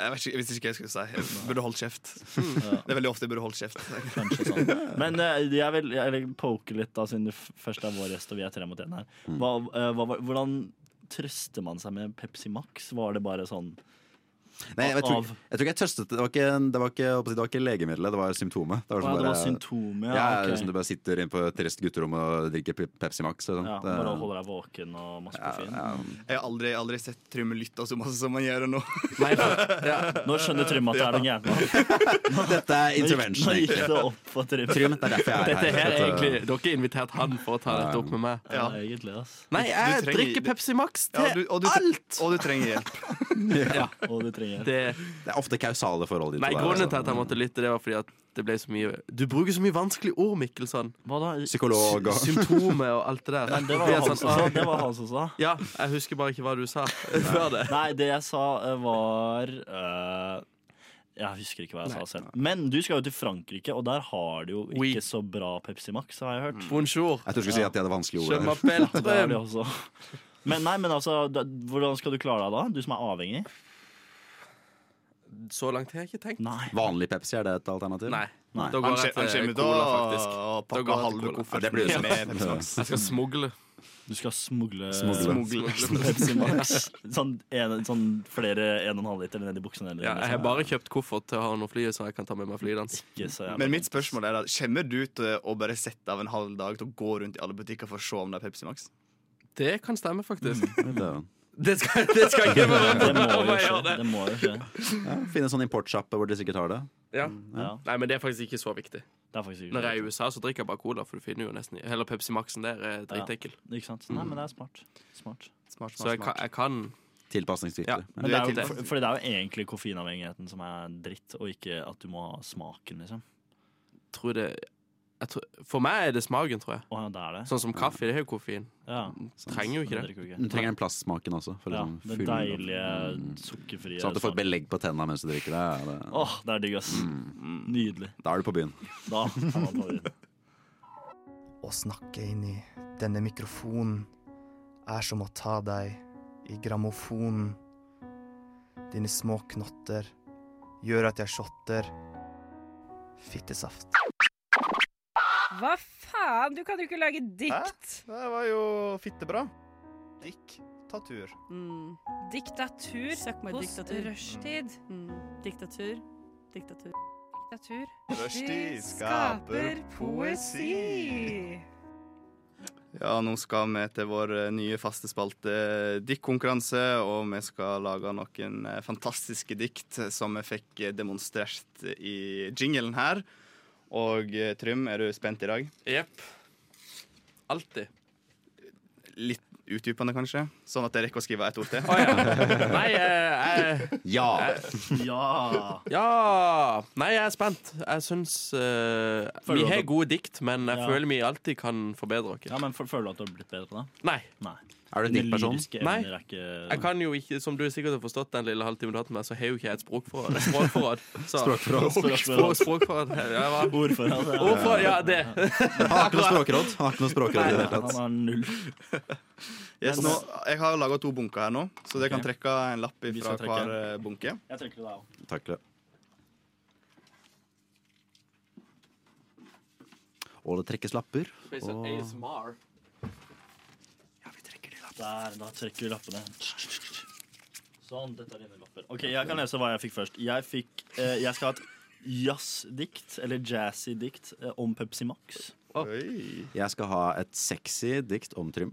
S3: eh, jeg, vet ikke, jeg visste ikke hva jeg skulle si. Jeg burde holdt kjeft. Det er veldig ofte jeg burde holdt kjeft.
S4: Kanskje sånn. Men eh, jeg vil, jeg vil poke litt, da, siden du f- først er vår gjest og vi er tre mot én her.
S5: Mm.
S4: Hva, eh, hva, var- hvordan trøster man seg med Pepsi Max? Var det bare sånn
S5: Nei, jeg, tror,
S4: Av-
S5: jeg tror ikke jeg tøstet Det var ikke, det var ikke, det var ikke legemiddelet, det var symptomet. Det
S4: Å ja, det var
S5: bare-
S4: symptomet,
S5: Ja,
S4: ja.
S5: det er
S4: ok.
S5: sånn Du bare sitter inne på et trist gutterom og drikker Pe- Pepsi Max. og sånt.
S4: ja
S5: Det-
S4: bare holder deg våken og masse koffein.
S3: Jeg har aldri, aldri sett Trym lytte så masse som han gjør nå.
S6: Nei, ja.
S4: Nå skjønner Trym at det er den gærne.
S5: Dette er
S4: Nå gikk-
S5: intervention,
S4: Nå gikk
S5: egentlig.
S4: det opp for Trym.
S5: Trym, det er derfor jeg er
S6: Dette her er
S5: Dette-
S6: egentlig Dere har invitert han for å ta dette opp med meg.
S4: Ja, egentlig, ass.
S6: Nei, jeg
S3: Du trenger-
S6: drikker Pepsi Max til
S3: Ja, du- og du-
S6: alt!
S3: Og du trenger hjelp.
S6: Ja,
S4: Og du trenger
S6: det,
S5: Det er ofte kausale forhold. de to
S6: nei,
S5: der,
S6: grunnen
S5: altså.
S6: til at jeg måtte lytte, det var fordi at det ble så mye Du bruker så mye vanskelige ord, Mikkelson.
S4: Hva da?
S5: Psykolog og
S6: Symptomer og alt det der.
S4: Det var
S6: Blir
S4: jo han
S6: sånn,
S4: som sa.
S6: ah,
S4: Det var han som sa.
S6: ja, jeg husker bare ikke hva du sa før det.
S4: Nei, det jeg sa eh, var eh, Jeg husker ikke hva jeg sa selv. Men du skal jo til Frankrike, og der har de jo ikke
S6: Oui. Mm.
S4: så bra Pepsi Max, har jeg hørt.
S6: <laughs> Bonjour.
S5: Jeg tror du skulle si at de hadde vanskelige
S6: Je
S5: ord. her.
S6: m'appelle
S4: Det har
S6: Trym.
S4: de også. Men, nei, men altså, da, hvordan skal du klare deg da? Du som er avhengig?
S6: eh, Så langt har jeg ikke tenkt.
S4: Nei.
S5: Vanlig Pepsi, er det et alternativ?
S6: Nei.
S4: Nei.
S6: Da
S3: Han eh,
S6: går jeg
S3: kje- han
S6: til
S3: kommer til
S6: cola,
S3: å
S6: faktisk.
S3: å
S6: Da går
S3: pakke
S6: jeg til
S3: halve
S6: cola.
S3: kofferten
S5: Ja, det blir jo
S3: med Pepsi Max.
S6: Jeg skal smugle.
S4: Du skal smugle,
S3: Smugle.
S4: Pepsi Max. Sånn, en, sånn flere 1,5 liter ned i buksene. Eller,
S6: <laughs> Ja, jeg har
S4: liksom.
S6: bare kjøpt koffert til å ha noe flyet, så jeg kan ta med meg flydans.
S4: Ikke så jævlig.
S3: <laughs> Men mitt spørsmål er da, kommer du til å bare sette av en halv dag til å gå rundt i alle butikker for å se om det er Pepsi Max?
S6: Det kan stemme, faktisk.
S5: Døden.
S6: <laughs> Det skal, det skal ikke være
S4: Det må
S6: <laughs> om
S4: jo
S6: jeg gjør
S4: skje.
S6: det.
S4: Det må jo skje.
S5: Ja, Finne en sånn importsjappe hvor de sikkert har det.
S6: Ja.
S4: Ja,
S6: Nei, men det er faktisk ikke så viktig.
S4: det er faktisk
S6: Når jeg er i
S4: ikke
S6: USA, så drikker jeg bare cola, for du finner jo nesten Eller Pepsi Max-en der er eh, dritekkel.
S4: Ikke sant? Nei, men det er smart. smart.
S3: Smart,
S6: Så jeg kan, jeg kan
S5: Tilpasningsdyktig.
S6: Ja.
S4: Men det er jo,
S3: Du er
S4: for, fordi det er jo egentlig koffeinavhengigheten som er dritt, og ikke at du må ha smaken, liksom.
S6: tro det jeg tror, For meg er det smaken, tror jeg.
S4: Å ja, det er det.
S6: Sånn som kaffe, det er jo koffein.
S4: Ja.
S6: Trenger jo
S4: Det
S6: ikke det.
S4: drikker du
S5: Du
S4: ikke.
S5: trenger den plastsmaken også. For å
S4: Ja,
S5: liksom
S4: den
S5: fylle den opp.
S4: deilige sukkerfrie
S5: Sånn at du får et
S4: smaken.
S5: belegg på tenna mens du drikker det. ja, det. Mm.
S4: Åh, det er digg, ass. Nydelig.
S5: Da er du på byen.
S4: Da er man på vei.
S7: Å snakke inn i denne mikrofonen er som å ta deg i grammofonen. Dine små knotter gjør at jeg shotter. Fittesaft.
S8: Hva faen? Du kan jo ikke lage dikt.
S3: Det var jo fittebra. Dick, ta tur.
S9: Mm.
S8: Diktatur
S9: Søk meg
S8: hos
S9: diktatur.
S8: rushtid.
S9: Mm. Diktatur. Diktatur.
S8: Diktatur.
S3: Rushdie skaper poesi. Ja, nå skal vi til vår eh, nye faste spalte eh, diktkonkurranse, og vi skal lage noen eh, fantastiske dikt som vi fikk eh, demonstrert i jinglen her. Og eh, Trym, er du spent i dag?
S6: Jepp. Alltid.
S3: Litt utdypende, kanskje? Sånn at jeg rekker å skrive ett ord
S4: <laughs>
S3: til?
S6: Å ja. Nei, jeg, jeg
S5: Ja!
S4: Ja!
S6: Ja! Nei, jeg er spent. Jeg syns eh,
S4: Føler du
S6: Vi
S4: at
S6: har
S4: du-
S6: gode dikt, men jeg
S4: Ja.
S6: føler vi alltid kan forbedre oss.
S4: Ja, men f- Føler du at du har blitt bedre på det?
S6: Nei.
S4: Nei.
S5: Er du en diktperson?
S6: Nei.
S4: Nei. Er ikke...
S6: Jeg kan jo ikke, Som du sikkert har forstått den lille halvtimen du har hatt med meg, så har jo ikke jeg et språkforråd. Språkforråd. Så,
S5: Språkråd.
S6: <laughs> Språk- språkforråd. Ja, hva?
S4: Ordfører. altså.
S6: Ordforråd, ja, det.
S5: Han har ikke noe språkråd. Han har ikke noe språkråd i det hele
S4: Han
S5: tatt.
S4: har null.
S3: Yes, nå, jeg har laga to bunker her nå, så dere kan
S4: Ok.
S3: trekke en lapp
S4: Vi
S3: fra
S4: skal trekke.
S3: hver eh, bunke.
S4: Jeg trekker det av.
S5: Takk for det. Og det trekkes lapper.
S4: Der, da trekker vi lappene. Sånn, dette er dine lapper. Ok, Jeg kan lese hva jeg fikk først. Jeg, fikk, eh, jeg skal ha et jazzdikt, eller jazzy-dikt, eh, om Pepsi Max.
S3: Oi.
S5: Jeg skal ha et sexy dikt om Trym.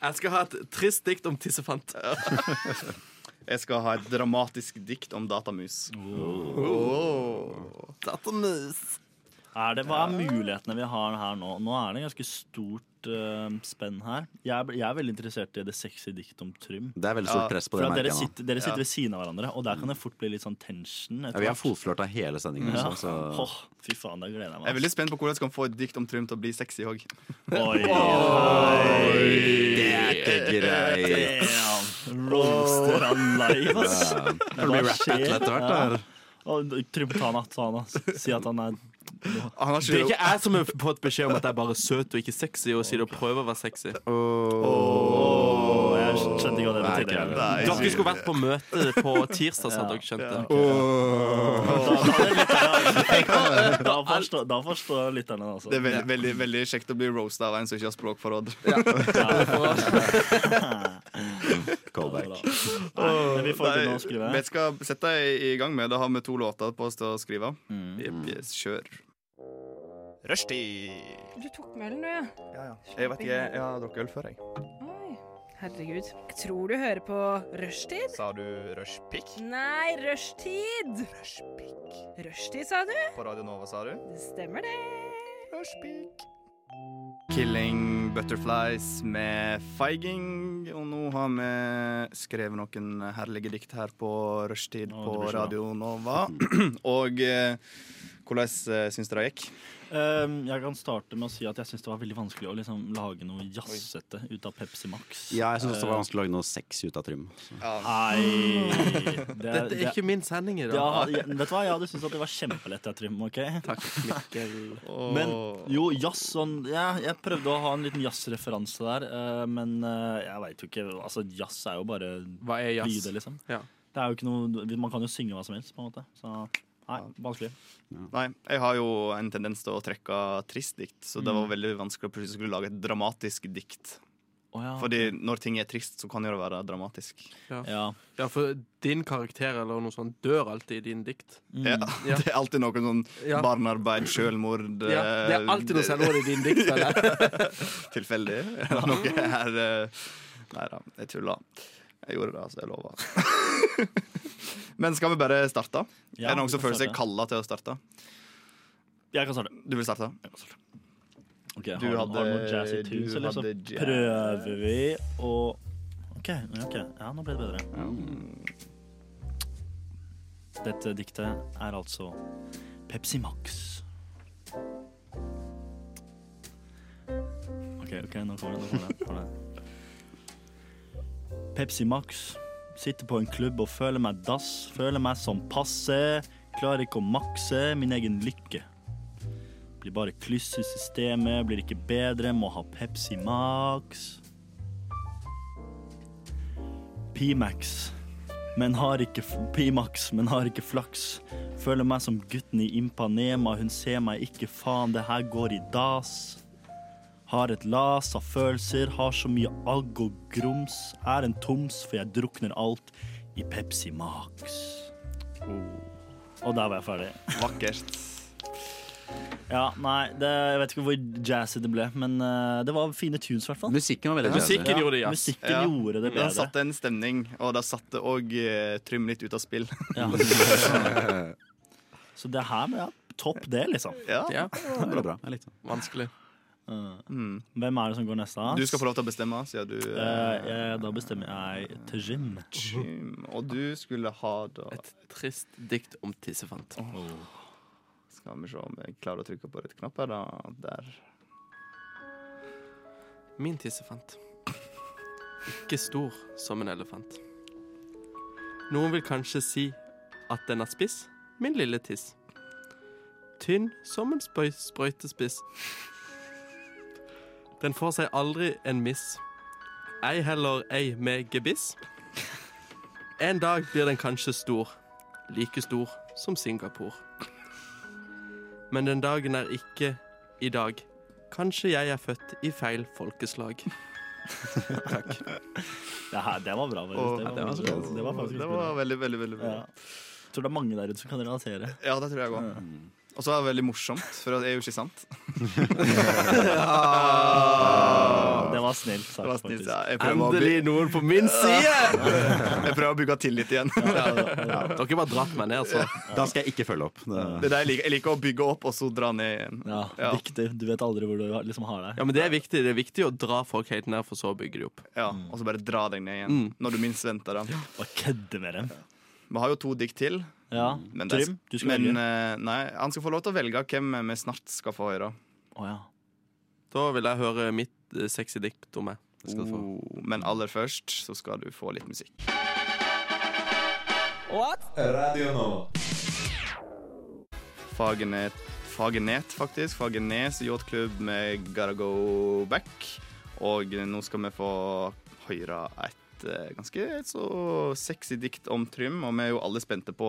S6: Jeg skal ha et trist dikt om tissefant.
S3: Jeg skal ha et dramatisk dikt om datamus.
S4: Er det, hva er mulighetene vi har her nå? Nå er det ganske stort eh, spenn her. Jeg er, jeg er veldig interessert i det sexy diktet om Trym.
S5: Det er veldig
S3: Ja,
S5: stort press på
S4: For
S5: det
S4: at dere
S5: merket nå.
S4: sitter, dere sitter ved siden av hverandre, og der kan det fort bli litt sånn tension.
S5: Ja,
S4: etter
S5: vi har
S4: hvert.
S5: fotflørta hele sendingen.
S4: Ja.
S5: også, så
S4: Åh, fy faen, det gleder jeg
S3: Jeg er
S4: meg.
S3: veldig spent på hvordan jeg kan få et dikt om Trym til å bli sexy òg.
S5: Det er ikke greit.
S4: Damn! Roaster alive, ass.
S5: Det blir rap battle etter hvert. da.
S4: Trym, ta han, ta han, ass. Si at han er
S3: Han har
S6: Det er
S3: ikke
S6: ikke jeg som har fått beskjed om at jeg bare er søt og ikke sexy, og sier du prøver å være sexy.
S4: Åh, Jeg skjønte ikke hva det betydde. Da
S3: Nei,
S6: Dere skulle vært på møte på tirsdag, så hadde dere skjønt det.
S4: hadde lytterne- Da forstår, da forstår lytterne det, altså.
S3: Det er veldig, veldig, veldig kjekt å bli roasta av en som ikke har språkforråd.
S5: Callback.
S4: Nei, men vi får begynne å
S3: <laughs>
S4: skrive.
S3: Vi skal sette deg i gang med Da har vi to låter på oss til å skrive. Jepp, Yes, kjør. Rushtid.
S8: Du tok melden, du, ja.
S3: Jeg vet ikke, jeg har drukket øl før, jeg.
S8: Oi. Herregud. Jeg tror du hører på rushtid.
S3: Sa du rushpick?
S8: Nei, rushtid!
S3: Rushpick.
S8: Rushtid, sa du?
S3: På Radio Nova, sa du?
S8: Det stemmer, det.
S3: Rushpick. Killing Butterflies med Feiging. Og nå har vi skrevet noen herlige dikt her på rushtid
S4: Å, det
S3: på <clears throat>
S4: blir så bra.
S3: Radio Nova. Og eh, Hvordan uh, syns dere det gikk?
S4: Ehm, jeg kan starte med å si at jeg syns det var veldig vanskelig å liksom lage noe jazzete ut av Pepsi Max.
S5: Ja, jeg syns det var vanskelig å lage noe sex ut av Trym. så.
S4: Nei det,
S6: Dette er
S4: det-
S6: ikke min sending i
S4: ja,
S6: dag. Ah,
S4: jeg- Vet du hva, jeg hadde syntes at det var kjempelett, jeg, Trym. ok?
S6: Takk, Mikkel.
S4: Men jo, jazz sånn ja, Jeg prøvde å ha en liten jazzreferanse der, eh, men eh, jeg veit jo ikke Altså, jazz er jo bare
S6: Hva er sånn. jazz?
S4: lyder, liksom.
S6: Ja.
S4: Det er jo ikke noe Man kan jo synge hva som helst, på en måte. Så nei, vanskelig.
S3: Nei, jeg har jo en tendens til å trekke trist dikt, så det
S6: Mm.
S3: var veldig vanskelig å plutselig skulle lage et dramatisk dikt.
S6: Å ja.
S3: Fordi når ting er trist, så kan jo det være dramatisk.
S4: Ja.
S6: ja, for din karakter eller noe sånt dør alltid i din dikt.
S3: Ja,
S6: Mm. Ja.
S3: <laughs> det er alltid noe sånn
S6: Ja.
S3: barnearbeid, sjølmord eh,
S6: Ja, det er alltid noe selvmord i din dikt. Eller?
S4: <laughs>
S3: Tilfeldig. <laughs> Eller noe her eh, Nei da, jeg tulla. Jeg gjorde det, altså. Jeg lover. <laughs> Men skal vi bare starte? er det
S4: Ja, vi
S3: noen som
S4: kan
S3: føler seg
S4: starte.
S3: kalla til å starte?
S4: Jeg kan starte.
S3: Du vil starte?
S4: Ok, har,
S3: Du
S4: har du noe
S3: hadde-
S4: jazz i tunes,
S3: du
S4: eller så
S3: hadde jazz.
S4: prøver vi å OK, ok, ja, nå ble det bedre.
S3: Mm.
S4: Dette diktet er altså Pepsi Max. OK, ok, nå kommer det. Nå kommer det, nå kommer det. Pepsi Max. Sitter på en klubb og føler meg dass. Føler meg som passe. Klarer ikke å makse min egen lykke. Blir bare kluss i systemet, blir ikke bedre, må ha Pepsi Max. P-Max, men har ikke f- P-Max, men har ikke flaks. Føler meg som gutten i Impanema, hun ser meg ikke, faen, det her går i dass. Har et las av følelser, har så mye agg og grums. Er en toms, for jeg drukner alt i Pepsi Max. Oh. Og der var jeg ferdig.
S3: Vakkert.
S4: Ja, nei, det, jeg vet ikke hvor jazzy det ble, men eh, det var fine tunes, i hvert fall.
S5: Musikken var veldig jazzy.
S6: Musikken gjorde jazz.
S4: Musikken
S3: Ja.
S4: gjorde det
S3: Det
S4: bedre.
S3: satte en stemning, og det satte òg Trym litt eh, ut av spill. <laughs>
S4: Ja. Så det her ja, topp, det, liksom.
S3: ja.
S6: <laughs> Ja,
S5: Det var bra. Jeg likte det.
S6: vanskelig.
S4: Hvem er det som går neste? ass?
S3: Du skal få lov til å bestemme, siden du
S4: Eh,
S3: eh,
S4: jeg- Da bestemmer jeg til Jim.
S3: Trym. Og du skulle ha da
S6: Et trist dikt om tissefant.
S3: Skal vi se om jeg klarer å trykke på rett knapp her, da. Der.
S6: Min tissefant. Ikke stor som en elefant. Noen vil kanskje si at den er spiss, min lille tiss. Tynn som en sprøy sprøytespiss. Den får seg aldri en miss. Ei heller ei med gebiss. En dag blir den kanskje stor, like stor som Singapore. Men den dagen er ikke i dag. Kanskje jeg er født i feil folkeslag. <laughs> Takk.
S4: Det, her, det var bra. faktisk.
S3: Og-
S4: det, var, det, var, det var faktisk
S3: Det
S4: bra.
S3: var veldig, veldig veldig bra.
S4: Ja. Tror det er mange der ute som kan relatere.
S3: Ja, det tror jeg òg. Mm. Og så er det veldig morsomt, for det er jo ikke
S4: <laughs>
S3: sant. <laughs>
S4: Det var snilt sagt,
S3: Ah. Det var snilt,
S4: faktisk.
S3: ja. jeg, prøver å by-
S6: Endelig noen på min side!
S3: jeg prøver å bygge <laughs> tillit igjen.
S6: Dere bare dratt meg ned, altså.
S5: Da skal jeg ikke følge opp.
S3: <laughs> Det er
S5: Det,
S3: det jeg liker. Jeg liker å bygge opp, og så dra ned igjen.
S4: Ja,
S3: Ja.
S4: Riktig. Du vet aldri hvor du har- liksom har deg.
S6: Ja, men Det er viktig Det er viktig å dra folk helt ned, for så å bygge de opp.
S3: Ja,
S4: Mm.
S3: og så bare dra deg ned igjen når du minst venter det.
S4: Bare kødde med dem.
S3: Vi har jo to dikt til.
S4: Ja,
S3: Men, det er-
S4: Trym, du skal
S3: men
S4: velge.
S3: eh, nei, han skal få lov til å velge hvem vi snart skal få høre.
S4: Å, ja.
S6: Da vil jeg høre mitt eh, sexy dikt om meg.
S5: skal du få.
S3: Oh, men aller først så skal du få litt musikk. Fagenet, Fagenet faktisk. Fagenes yachtklubb med Gotta Go Back. Og nå skal vi få høre et eh, ganske så sexy dikt om Trym, og vi er jo alle spente på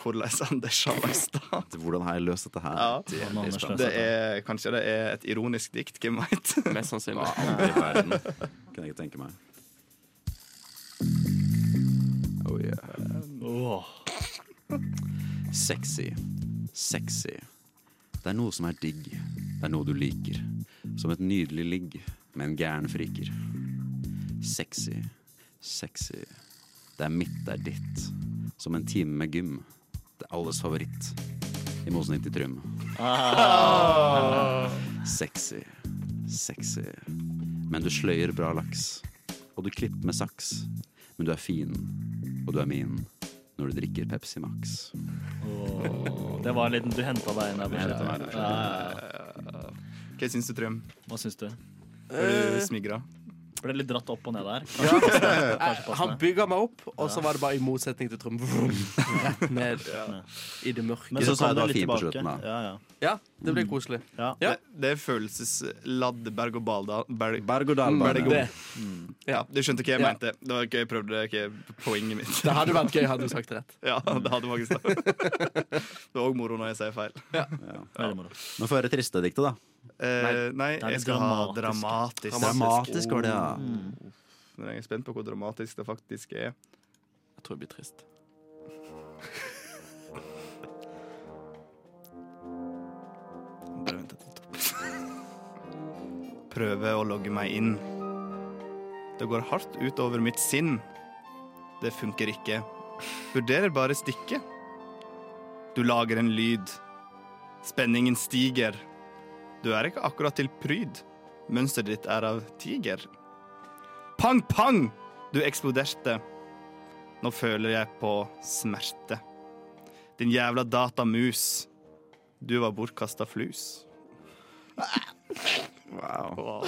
S3: hvordan Anders har løst det.
S5: hvordan har jeg løst dette her?
S3: Ja.
S5: Det
S4: Han
S5: blir
S4: Anders
S5: spennende.
S4: løste
S3: Det er, kanskje det er et ironisk dikt, hvem veit?
S6: Mest sannsynlig.
S5: Aldri i verden. Kunne jeg ikke tenke meg. Oh yeah.
S4: Åh.
S5: Sexy. Sexy. Det er noe som er digg. Det er noe du liker. Som et nydelig ligg med en gæren friker. Sexy. Sexy. Det er mitt, det er ditt. Som en time med gym. Det er alles favoritt. I mosen til Trym. Sexy. Sexy. Men du sløyer bra laks. Og du klipper med saks. Men du er fin. Og du er min. Når du drikker Pepsi Max.
S4: Det var en liten Du henta deg inn der. på
S5: hentet meg
S4: slutten.
S5: inn der.
S4: Ja, ja, ja.
S3: <laughs> Hva syns du, Trym?
S4: Hva syns du?
S3: Blir du
S6: Eh,
S3: smigra?
S4: Ble litt dratt opp og ned der.
S6: eh, han bygga meg opp, og så var det bare i motsetning til Trym. Vroom. Rett ned i det
S4: Men
S6: mørke.
S5: så
S4: så kom
S5: det
S4: du
S5: var
S4: litt
S5: fint på
S4: tilbake.
S5: slutten, da.
S4: Ja, ja.
S6: Ja, det ble koselig.
S4: Ja.
S6: Ja.
S3: Det, det er følelsesladd berg-og-dal berg
S5: Berg-og-dal-bane.
S6: Det,
S3: Ja, du skjønte hva jeg
S6: Ja.
S3: mente. Det var ikke, jeg prøvde ikke poenget mitt.
S6: det hadde vært gøy hadde du sagt rett.
S3: <laughs> Ja, det hadde faktisk det. <laughs> Det var òg moro når jeg sier feil.
S4: Veldig moro.
S5: Men få høre triste diktet, da.
S3: Eh, nei,
S4: det er
S3: jeg
S4: litt
S3: skal ha dramatisk.
S5: Dramatisk var det, ja.
S3: Men Jeg er spent på hvor dramatisk det faktisk er.
S6: Jeg tror jeg blir trist.
S3: <laughs> Bare vent et topp. Prøve å logge meg inn. Det går hardt utover mitt sinn. Det funker ikke. Vurderer bare stikket. Du lager en lyd. Spenningen stiger. Du er ikke akkurat til pryd. Mønsteret ditt er av tiger. Pang, pang! Du eksploderte. Nå føler jeg på smerte. Din jævla datamus. Du var bortkasta flus.
S5: Wow.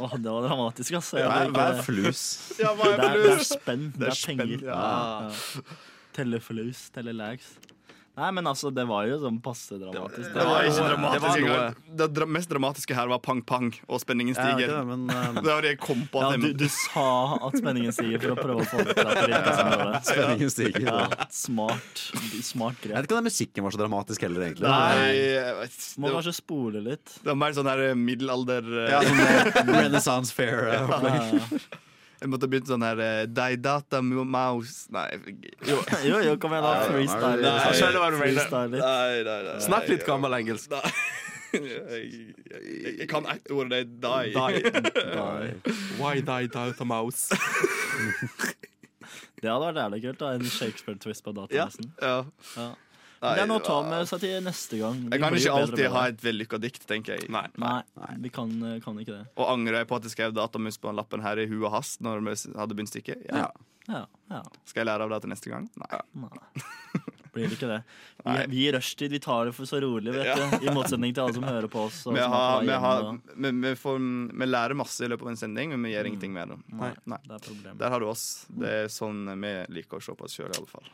S4: Åh, det var dramatisk, ass. Jeg
S5: Hva
S4: hadde
S5: er-
S4: ikke-
S5: hva er flus?
S3: Ja, hva
S4: Det er, det er spenn. Det er
S3: spenn,
S4: penger.
S3: ja.
S4: Ja. Telle flus, telle lags. Nei, men altså, det var jo sånn passe dramatisk.
S3: Det var ikke
S6: noe- det var
S3: dramatisk
S6: noe.
S3: engang. Det dra mest dramatiske her var pang-pang, og spenningen
S5: Ja, det er
S3: stiger.
S5: ikke det, men
S3: det
S5: eh,
S3: var det jeg kom på.
S4: Ja,
S3: At jeg
S4: du, du sa at spenningen stiger for å prøve å få det til at det virker som det gjorde.
S5: <laughs> spenningen stiger.
S4: Ja, smart. Smart
S5: Jeg
S4: grep.
S5: vet ikke om den musikken var så dramatisk heller, egentlig.
S3: Nei, jeg vet ikke.
S4: Må
S3: det, var,
S4: kanskje spole litt.
S3: det var mer sånn her eh, middelalder eh,
S5: Ja, sånn eh, Renaissance Fair. eh, opplegg.
S3: Jeg måtte begynt sånn her eh, Dei data mo- mouse Nei. jeg-
S4: Jo, jo, jo kom igjen, da.
S5: Nei,
S4: Freestyle litt.
S5: jeg skjønner
S3: hva du mener.
S4: Freestyle litt.
S3: Nei, nei, nei.
S6: Snakk litt gammel
S3: <laughs>
S6: engelsk.
S3: Jeg, jeg, jeg kan ett ord, og det er die.
S6: Die. Why die doubt a mouse?
S4: Det hadde vært jævlig kult. da En Shakespeare-twist på datamassen.
S3: <laughs> Ja.
S4: Ja.
S3: Nei,
S4: Det er noe å ta
S3: hva-
S4: med seg til neste gang. Vi
S3: Jeg kan
S4: blir
S3: ikke
S4: jo bedre
S3: alltid
S4: på
S3: ha
S4: det.
S3: et vellykka dikt, tenker jeg.
S6: Nei.
S4: Nei, vi kan, eh, kan ikke det.
S3: Og angrer jeg på at jeg skrev datamus på den lappen her i huet og hast når vi hadde begynt stykket? Ja.
S5: Ja.
S4: Ja, ja.
S3: Skal jeg lære av det til neste gang? Nei. <laughs>
S4: Nei. Blir det ikke det. Vi, vi i rushtid vi tar det for så rolig, vet du. I motsetning til alle som hører på oss. og
S3: Vi,
S4: som
S3: har,
S4: er på
S3: vi,
S4: vei
S3: har,
S4: hjem,
S3: vi, vi, får, vi lærer masse i løpet av en sending, men vi gjør ingenting med det. Nei.
S4: og Det er problemet.
S3: Der har du oss. Det er sånn vi liker å se på oss sjøl, iallfall.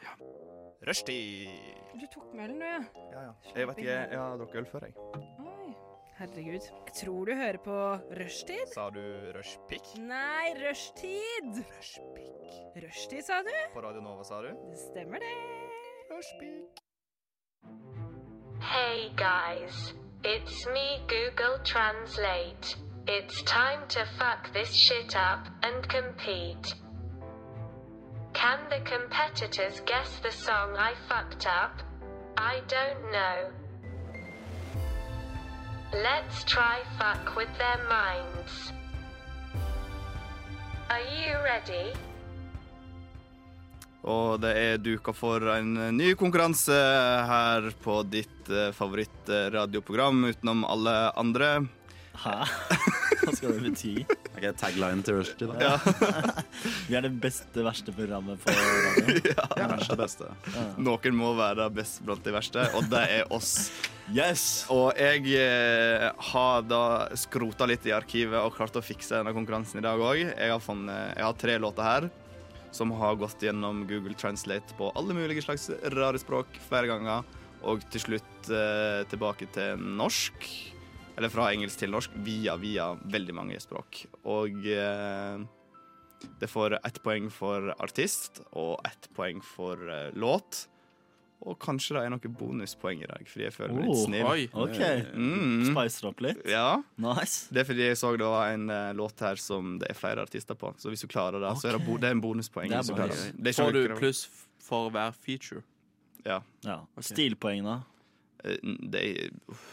S3: Rushtid.
S8: Du tok med den, du, ja.
S3: Ja, ja. Jeg vet ikke, jeg har drukket øl før, jeg.
S8: Oi. Herregud. Jeg tror du hører på rushtid.
S3: Sa du rushpick?
S8: Nei, rushtid!
S3: Rushpick.
S8: Rushtid, sa du?
S3: På Radio Nova, sa du?
S8: Det stemmer, det.
S3: Rushpick.
S10: Hey guys, it's me Google Translate. It's time to fuck this shit up and compete. Can the competitors guess the song I fucked up? I don't know. Let's try fuck with their minds. Are you ready?
S3: Og det er duka for en ny konkurranse her på ditt eh, favorittradioprogram utenom alle andre.
S4: Hæ? Hva skal det bety?
S5: Ok, tagline til Rushdie, da.
S4: Vi er det beste, verste programmet
S3: <laughs>
S4: på radio.
S5: Ja, kanskje det beste.
S3: Noen må være best blant de verste, og det er oss.
S4: Yes!
S3: Og jeg eh, har da skrota litt i arkivet og klart å fikse denne konkurransen i dag òg. Jeg, har funnet- jeg har tre låter her som har gått gjennom Google Translate på alle mulige slags rare språk flere ganger. Og til slutt eh, tilbake til norsk. Eller fra engelsk til norsk via, via veldig mange språk. Og eh, det får ett poeng for artist og ett poeng for eh, låt. Og kanskje det er noen bonuspoeng i dag, fordi jeg føler meg litt
S4: Oh,
S3: snill.
S6: Oi.
S4: OK.
S3: Mm.
S4: Spicer opp litt.
S3: Ja,
S4: Nice.
S3: det er fordi jeg så det var en eh, låt her som det er flere artister på. Så hvis du klarer det, så er det, bo det er en bonuspoeng.
S4: Det er
S3: hvis du klarer
S4: bonus.
S3: det. Det er ikke
S6: Får du
S3: noe krav.
S6: pluss for hver feature?
S3: Ja.
S4: Ja. Stilpoeng, da.
S3: Eh, Det, er- uff,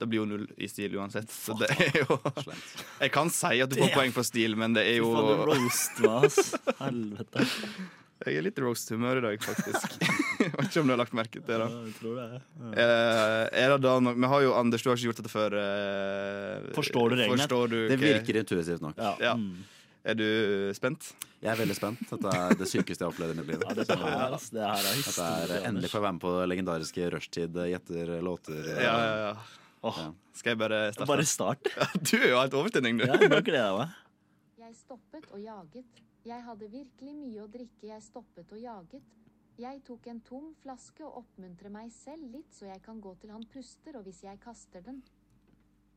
S3: det blir jo null i stil uansett. Så det er jo Jeg kan si at du får poeng for stil, men det er
S4: Fy faen, du
S3: jo
S4: roast meg, ass. Helvete.
S3: Jeg er litt i roast-humør i dag, faktisk.
S4: <laughs>
S3: Jeg vet ikke om du har lagt merke til
S4: Ja,
S3: det.
S4: jeg tror det. Ja.
S3: Eh, er det da noe Vi har jo Anders, du har ikke gjort dette før. eh,
S4: Forstår du reglene?
S3: Forstår du
S5: Det
S3: hva-
S5: virker intuitivt nok.
S4: Ja.
S3: Ja.
S4: Mm.
S3: Er du spent?
S5: Jeg er veldig spent. Dette er det sykeste jeg har opplevd i mitt liv.
S4: Ja, dette her, ass, det her er
S5: Dette er
S4: historie,
S5: Endelig
S4: Anders.
S5: får jeg være med på legendariske rushtid eh, gjetter låter. eh,
S3: Ja, ja, ja.
S4: Åh,
S3: Skal jeg bare starte?
S4: bare start.
S3: Du er jo helt overtenning, du.
S4: Ja, nå gleder jeg meg.
S11: Jeg stoppet og jaget. Jeg hadde virkelig mye å drikke. Jeg stoppet og jaget. Jeg tok en tom flaske og oppmuntrer meg selv litt så jeg kan gå til han puster og hvis jeg kaster den.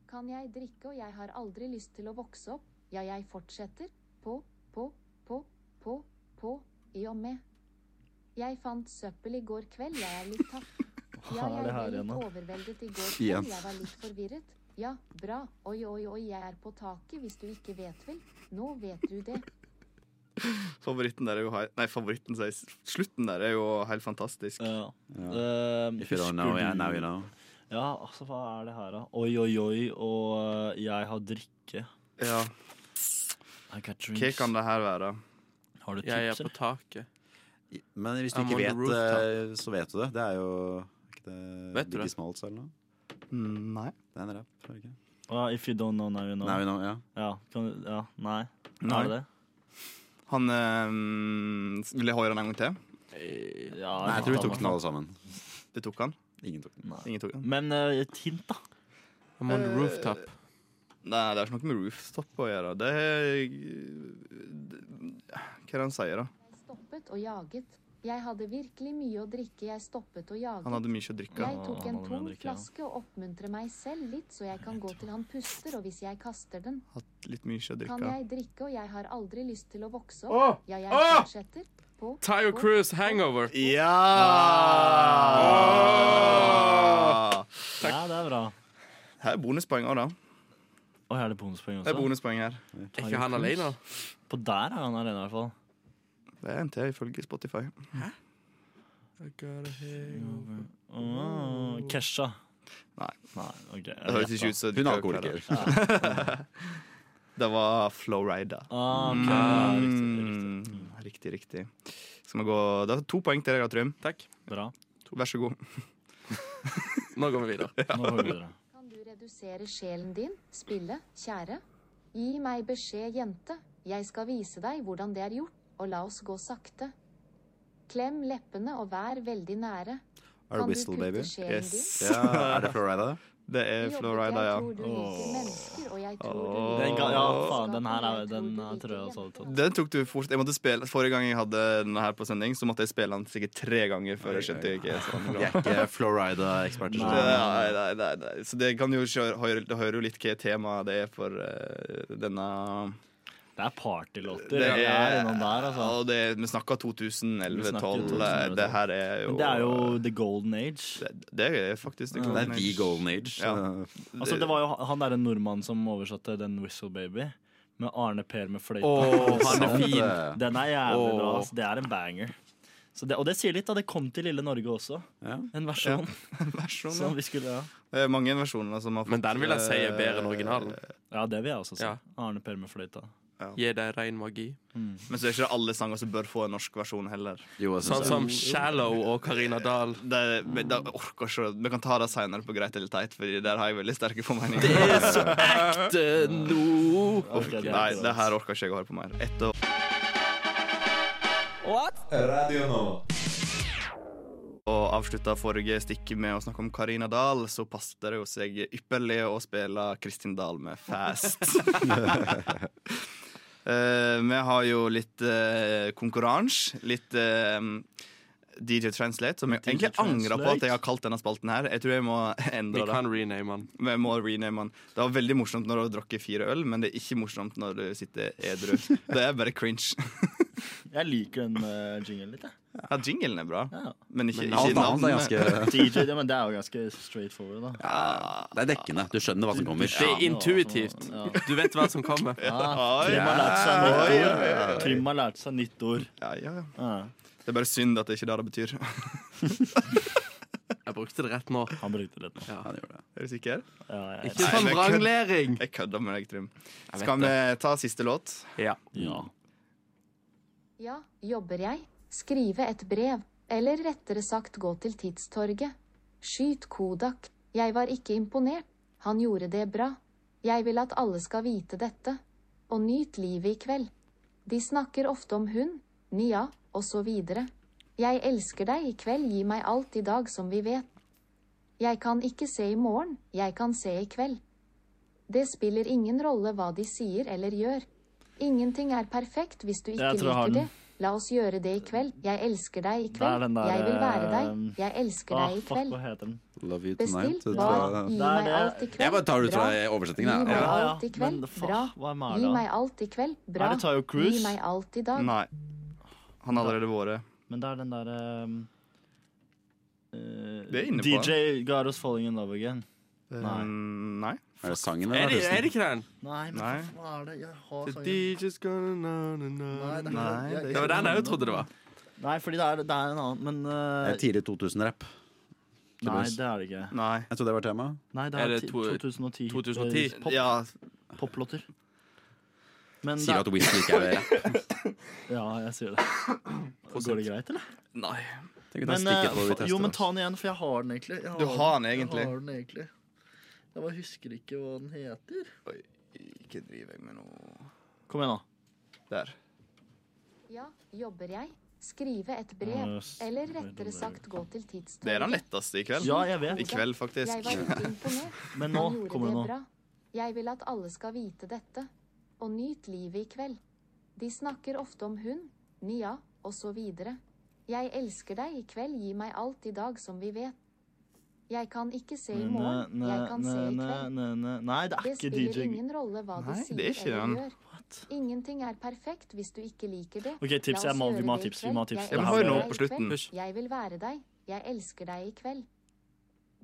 S11: Kan jeg drikke og jeg har aldri lyst til å vokse opp. Ja, jeg fortsetter. På, på, på, på, på, i og med. Jeg fant søppel i går kveld, jeg er litt tatt. Ja,
S4: Hva
S11: jeg
S4: er det
S11: ble
S4: her
S11: litt
S4: igjen, da?
S11: overveldet i går
S5: eh, Igjen.
S11: kveld, jeg var litt forvirret. Ja, bra. Oi, oi, oi, jeg er på taket hvis du ikke vet vel. Nå vet du det.
S3: Favoritten der er jo hei- Nei, favoritten, sier jeg. Slutten der er jo helt fantastisk.
S5: Eh,
S4: Ja. Ehm,
S5: If you don't know,
S4: husker
S5: yeah,
S4: du-
S5: now you know.
S4: Ja, altså, hva er det her, da? Oi, oi, oi, og eh, jeg har drikke.
S3: Ja.
S4: I got
S3: Hva
S4: drinks.
S3: kan det her være?
S4: Har du tips,
S6: Jeg er
S4: eller?
S6: på taket.
S5: Men hvis du
S6: I'm
S5: ikke
S6: on the
S5: vet
S6: rooftop.
S5: det, så vet du det. Det er jo er ikke det
S6: Vet du
S5: Biggie
S6: det?
S5: Smalls eller noe?
S7: Mm, Nei.
S5: Det er en rap, er det ikke?
S4: Ja, if you don't know, now you know.
S5: Now you know, ja.
S4: Ja, kan, du- ja, nei.
S3: Nei.
S4: Er det
S3: Han eh, Vil jeg høre den en gang til?
S4: det? Ja,
S5: Nei, jeg tror vi
S4: faen,
S5: tok den alle sammen.
S3: Det tok han.
S5: Ingen tok den.
S4: Nei.
S3: Ingen tok den.
S4: Men eh, et hint, da.
S6: I'm on the rooftop.
S3: Nei, det har ikke noe med rooftop å gjøre. Det er det- Hva er det han sier, da?
S11: Jeg stoppet og jaget. Jeg hadde virkelig mye å drikke. Jeg stoppet og jaget.
S3: Han hadde mye å drikke.
S11: Jeg tok en
S4: Han hadde mye å
S11: tom
S4: drikke, ja.
S11: flaske og oppmuntrer meg selv litt så jeg kan gå til han puster og hvis jeg kaster den.
S3: Hatt litt mye å
S11: Kan
S3: drikke.
S11: jeg drikke og jeg har aldri lyst til å vokse opp. Ja, jeg fortsetter. På,
S6: Tayo
S11: på,
S6: Cruise, hangover.
S3: Ja!
S4: Ja, det er bra.
S3: Ah! Her er bonuspoeng òg, da.
S4: Og her er det bonuspoeng også.
S3: Det er bonuspoeng her.
S6: Er ikke han alene?
S4: På der er han alene, i hvert fall.
S3: Det er en til ifølge Spotify.
S6: I got a hangover.
S4: Åh, Ah, Kesha.
S3: Nei.
S4: Nei, ok. jeg
S3: Det høres
S4: vet
S3: ikke ut
S4: da.
S3: som
S5: Hun er alkoholiker.
S3: Det var Flowrider.
S4: Ah, ok, ja, riktig, riktig.
S3: Mm, riktig, riktig. Skal vi gå Det er to poeng til deg, da, Trym.
S6: Takk.
S4: Bra.
S3: Vær så god.
S6: Nå går vi videre.
S4: Nå går vi videre.
S11: Kan du redusere sjelen din, spille, kjære? Gi meg beskjed, jente. Jeg skal vise deg hvordan det er gjort, og la oss gå sakte. Klem leppene og vær veldig nære.
S5: Er det
S11: Kan du
S5: Whistle
S11: putte
S5: Baby?
S11: sjelen din?
S3: Yes.
S5: Ja, er det Florida?
S3: Det er
S11: Jobbet,
S3: Flowrider,
S11: Jeg
S3: ja.
S11: tror du liker mennesker, og jeg tror du
S3: Åh.
S11: liker
S4: Den ga, ja,
S11: vennskap,
S4: faen, den her
S11: og
S4: er, den her
S11: du
S4: tror
S11: liker
S4: jeg også hadde tatt.
S11: jenter.
S3: Den tok du fort. Jeg måtte spille, Forrige gang jeg hadde denne her på sending, så måtte jeg spille den sikkert tre ganger før jeg skjønte ikke sånn.
S5: Jeg er ikke Florida-eksperter.
S3: Så,
S5: så-
S4: Nei.
S3: nei, nei, nei, nei. så det kan jo kjøre, hører, det hører jo litt hva temaet det er for eh, denne
S4: Det er partylåter. Det er innom der, altså.
S3: og det, Vi snakker
S4: Vi
S3: 2011-12.
S4: snakker 2011.
S3: Det her er jo
S4: altså. Men det er jo the golden age.
S3: det, det er faktisk
S5: Det er the golden age.
S3: Ja. <laughs>
S4: Altså, det var jo han derre nordmannen som oversatte den Whistle Baby. Med Arne Per med fløyta.
S6: <laughs> han er fin.
S5: Eh,
S4: <laughs> Den er jævlig bra.
S6: Åh.
S4: Altså. Det er en banger. Så det, og det sier litt, da. Det kom til lille Norge også.
S5: Ja.
S4: En versjon
S3: versjon,
S4: som vi skulle ja.
S3: Det er mange versjoner som har fått
S6: Men den vil jeg si er bedre enn
S3: eh,
S6: originalen.
S4: ja, det vil jeg også si.
S6: Ja.
S4: Arne Per med fløyta.
S6: Gi deg ren magi.
S3: Men så er ikke det alle sanger som bør få en norsk versjon heller.
S5: Jo, jeg
S6: Sånn
S5: syns det.
S6: som Shallow og Karina Dahl.
S3: Det, men da orker ikke Vi kan ta det seinere på Greit eller teit, Fordi der har jeg veldig sterke formeninger.
S6: Ekte no!
S4: Ok, det er
S3: Nei,
S4: ikke
S3: det
S4: det.
S3: her orker ikke jeg å høre på mer. Etter og avslutta forrige stikk med å snakke om Karina Dahl, så passet det jo seg ypperlig å spille Kristin Dahl med Fast. <laughs> Eh, vi har jo litt eh, konkurranse, litt eh, DJ Translate, som jeg
S4: DJ
S3: egentlig angrer på at
S4: Translate.
S3: jeg har kalt denne spalten her. Jeg tror jeg må <laughs>
S6: Vi
S3: endre det.
S6: kan rename den.
S3: Vi må rename den. Det var veldig morsomt når du har drukket fire øl, men det er ikke morsomt når du sitter edru. Det er bare cringe. <laughs>
S4: Jeg liker den eh, jinglen litt, jeg.
S3: Ja, jinglen er bra,
S4: Ja.
S3: men ikke,
S5: Men
S3: ikke
S5: alt annet er
S3: <laughs> navnet.
S5: ganske
S4: DJ, ja, men det er jo ganske straight forward, da.
S5: Det er dekkende. Du skjønner hva som kommer.
S6: Det er intuitivt.
S4: Ja.
S6: Du vet hva som kommer.
S4: Ah, Trym har lært seg nytt ord. Trym har lært seg nytt ord.
S3: Ja, ja, ja.
S4: Ja.
S3: Det er bare synd at det ikke er det det betyr. <laughs>
S6: Jeg brukte det rett nå.
S4: Han brukte det nå.
S5: Ja, det gjør det.
S3: Er du sikker?
S4: Ja, jeg,
S6: Ikke
S3: Nei,
S6: sånn
S3: men kødd.
S6: vranglering.
S3: Jeg kødder med deg, Trym.
S6: vet
S3: Skal vi ta siste låt?
S6: Ja.
S4: ja.
S11: Ja, jobber jeg? Skrive et brev. Eller rettere sagt gå til Tidstorget. Skyt Kodak. Jeg var ikke imponert. Han gjorde det bra. Jeg vil at alle skal vite dette. og nyt livet i kveld. De snakker ofte om hun, Nia, og så videre. Jeg elsker deg i kveld, gi meg alt i dag som vi vet. Jeg kan ikke se i morgen, jeg kan se i kveld. Det spiller ingen rolle hva de sier eller gjør. Ingenting er perfekt hvis du ikke
S4: Jeg tror jeg har
S11: liker det.
S4: den.
S11: La oss gjøre det i kveld. Jeg elsker deg i
S4: Det er
S11: kveld.
S4: den der,
S11: jeg vil være deg.
S4: eh,
S11: Jeg elsker
S4: ah,
S11: deg i
S4: fuck,
S11: kveld.
S4: hva heter den?
S5: Love you
S11: Bestill
S5: tonight. vet du.
S11: hva? Gi
S5: Det
S11: meg alt i kveld.
S5: Jeg bare tar det ut fra
S11: Bra.
S5: oversettingen.
S11: Gi
S5: jeg.
S11: meg
S5: Ja.
S11: alt i kveld.
S4: men faen,
S11: Bra.
S4: hva er Mæla?
S11: Gi meg alt i kveld. Bra.
S4: Er det Tayo Cruz?
S11: Gi meg alt i dag.
S3: Nei. Han har allerede vært
S4: Men det er den ehm, eh, derre
S3: Det er inne på.
S4: DJ Garos Falling in Love Again.
S3: Nei. Um, nei.
S5: Er det sangen
S6: Er
S5: eller
S6: det, er
S5: artisten?
S6: det ikke den?
S4: Nei, men
S3: Nei.
S4: hva faen er det? Jeg har
S6: The
S4: sangen.
S6: DJ's gonna na, na,
S4: Nei,
S6: na,
S4: det er ikke
S6: na.
S4: den. Jeg-
S6: Det var den jeg jo trodde det var.
S4: Nei, fordi det er, det er en annen, men eh,
S5: Det er Tidlig 2000-rapp.
S4: Nei, det er det ikke.
S3: nei.
S5: Jeg trodde det var tema.
S4: Nei, det
S6: Er
S4: er,
S6: det
S4: ti-
S6: to-
S4: 2010.
S6: 2010?
S4: eh, Pop,
S3: Ja,
S4: poplåter. Men
S5: Sier du at
S4: det
S5: Whistler ikke er
S4: <laughs>
S5: rapp?
S4: er- Ja, jeg
S6: <clears throat>
S4: sier det. Går det greit, eller?
S3: nei.
S5: Tenk å ta
S4: Men,
S5: stikket
S4: eh,
S5: på hvor vi
S4: fa- jo, men
S5: tester.
S4: ta den igjen, for jeg har den egentlig. Jeg
S3: Du har den egentlig?
S4: Jeg har den egentlig. Jeg bare husker ikke hva den heter.
S3: Ikke driver jeg med noe
S4: Kom igjen, da.
S3: Der.
S11: Ja, jobber jeg? Skrive et brev.
S4: Yes.
S11: Eller rettere sagt gå til tidstøyet.
S3: Det er den letteste i kveld.
S4: Ja, jeg vet.
S3: I kveld,
S11: Jeg
S3: faktisk.
S11: var ikke imponert.
S4: Men
S11: Han
S4: nå
S11: gjorde
S4: kommer det
S11: det
S4: noe.
S11: bra. Jeg vil at alle skal vite dette. Og nyt livet i kveld. De snakker ofte om hun, Nia, og så videre. Jeg elsker deg i kveld, gi meg alt i dag som vi vet. Jeg kan ikke se i morgen,
S4: Nei,
S11: jeg kan se i
S4: nei,
S11: kveld.
S4: nei, nei, nei, det
S11: Det
S4: er ikke
S11: spiller
S4: DJ
S11: ingen rolle hva de
S3: Nei, det er
S11: sier
S3: ikke
S11: eller
S3: den.
S11: gjør.
S4: What?
S11: Ingenting er perfekt hvis du ikke liker det.
S4: Ok, tips.
S11: La oss
S4: Jeg må, vi må
S11: gjøre
S4: ha
S11: det i
S4: tips. Vi må ha
S11: kveld.
S4: tips.
S11: Jeg
S3: Ja,
S4: Det
S3: men
S4: her
S3: hør
S11: elsker
S3: nå
S4: må-
S3: på
S11: deg i kveld.
S3: slutten.
S6: Hysj.
S11: Jeg vil være deg. Jeg elsker deg i kveld.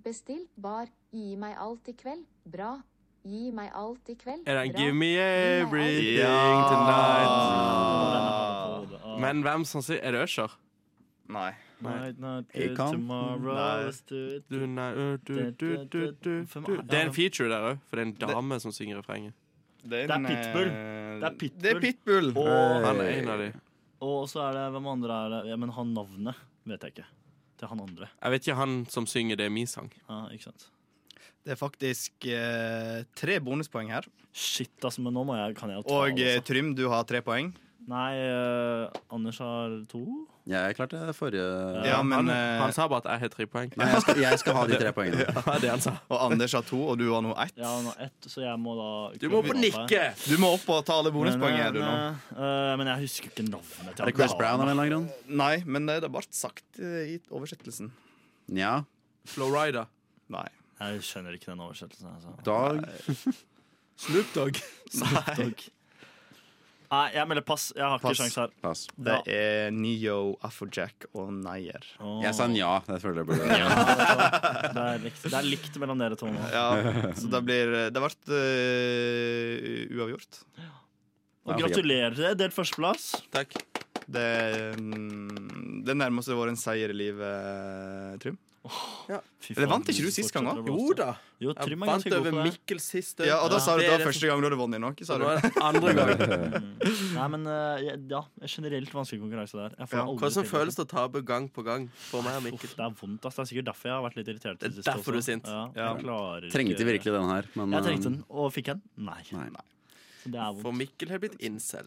S11: Bestill bar. Gi meg alt i kveld. Bra. Gi meg alt i kveld.
S6: Er den
S11: Bra.
S6: 'Give me everything
S3: Ja.
S6: tonight'?
S3: Ah.
S6: Men hvem som sier Er det Usher?
S3: Nei.
S4: Might not
S5: Jeg
S4: be
S5: kan-
S4: tomorrow is to-
S6: Du, nei, ø, du, du, du, du,
S4: Hvem
S6: du.
S4: er-
S6: Det er en feature der òg, for det er en dame som synger refrenget.
S4: Det er Pitbull.
S3: eh,
S4: Det er Pitbull.
S3: Det er Pitbull.
S4: Og,
S6: Han er en av de.
S4: og så er det Hvem andre er det? Ja, men han navnet vet jeg ikke. Til han andre.
S6: Jeg vet ikke han som synger, det er min sang.
S4: Ja, ikke sant?
S3: Det er faktisk eh, tre bonuspoeng her.
S4: Shit, altså, men nå må jeg, kan jeg jo ta
S3: Og eh,
S4: det. Altså.
S3: Trym, du har tre poeng.
S4: Nei, eh, Anders har to.
S5: Jeg klarte det forrige
S3: Ja, men
S6: han,
S3: eh,
S6: han sa bare at jeg har tre poeng.
S5: Nei, jeg skal, jeg skal ha de
S6: <laughs>
S5: tre poengene.
S6: Det var det han sa.
S3: Og Anders har to, og du har nå ett.
S4: Jeg har nå ett, så jeg må da
S6: Du må på nikke!
S3: Du må opp og ta alle bonuspoengene
S4: Men,
S3: du nå.
S4: eh, eh, men jeg husker ikke navnet til
S5: Er det Chris Brown av en eller annen grunn?
S3: Nei, men det det ble sagt eh, i oversettelsen.
S5: Nja.
S6: Florida.
S3: Nei.
S4: Jeg skjønner ikke den oversettelsen. Altså.
S5: Dag.
S6: Snoop Dogg.
S4: Dog. Nei, jeg melder pass. Jeg har ikke
S3: Pass.
S4: sjanse her.
S5: Pass.
S3: Det er Neo, Afrojack og Nayer.
S4: Åh. <laughs>
S5: Jeg sa nja. Jeg føler det burde
S4: Det er likt, det er likt mellom dere to nå. <laughs>
S3: Ja, så det blir Det ble eh, uavgjort.
S4: Og gratulerer dere, delt førsteplass.
S6: Takk.
S3: Det, mm, det nærmer seg å være en seier i livet, Trym.
S4: Fy
S3: Eller
S4: faen, altså.
S3: vant ikke du sist gang, da?
S4: fortsetter å
S6: Jo
S4: blåse.
S6: da.
S4: Jo,
S6: Jeg
S4: Trym er
S6: vant
S4: ganske god
S6: over
S4: på det.
S6: Mikkel sist.
S3: Ja, og da sa du
S6: Det
S3: det
S6: er
S3: var
S6: det
S3: første gang du hadde vunnet noe, sa
S6: som-
S3: du.
S6: Nå er det andre <laughs> gang.
S4: Nei, men eh, jeg- ja, generelt vanskelig konkurranse der. Jeg
S3: Ja,
S4: får aldri til
S6: Hvordan føles det å tape gang på gang for meg og Mikkel?
S4: Uff, det er vondt, ass. Det er sikkert derfor jeg har vært litt irritert. til
S6: Det er
S4: sist
S6: derfor
S4: også.
S6: du er sint.
S4: Ja,
S3: Ja.
S4: jeg klarer
S5: Trengte
S4: ikke-
S5: virkelig den her, men eh,
S4: Jeg trengte den, og fikk den? Nei.
S5: Nei.
S4: Så det er
S6: For
S4: vondt.
S6: Mikkel har blitt incel.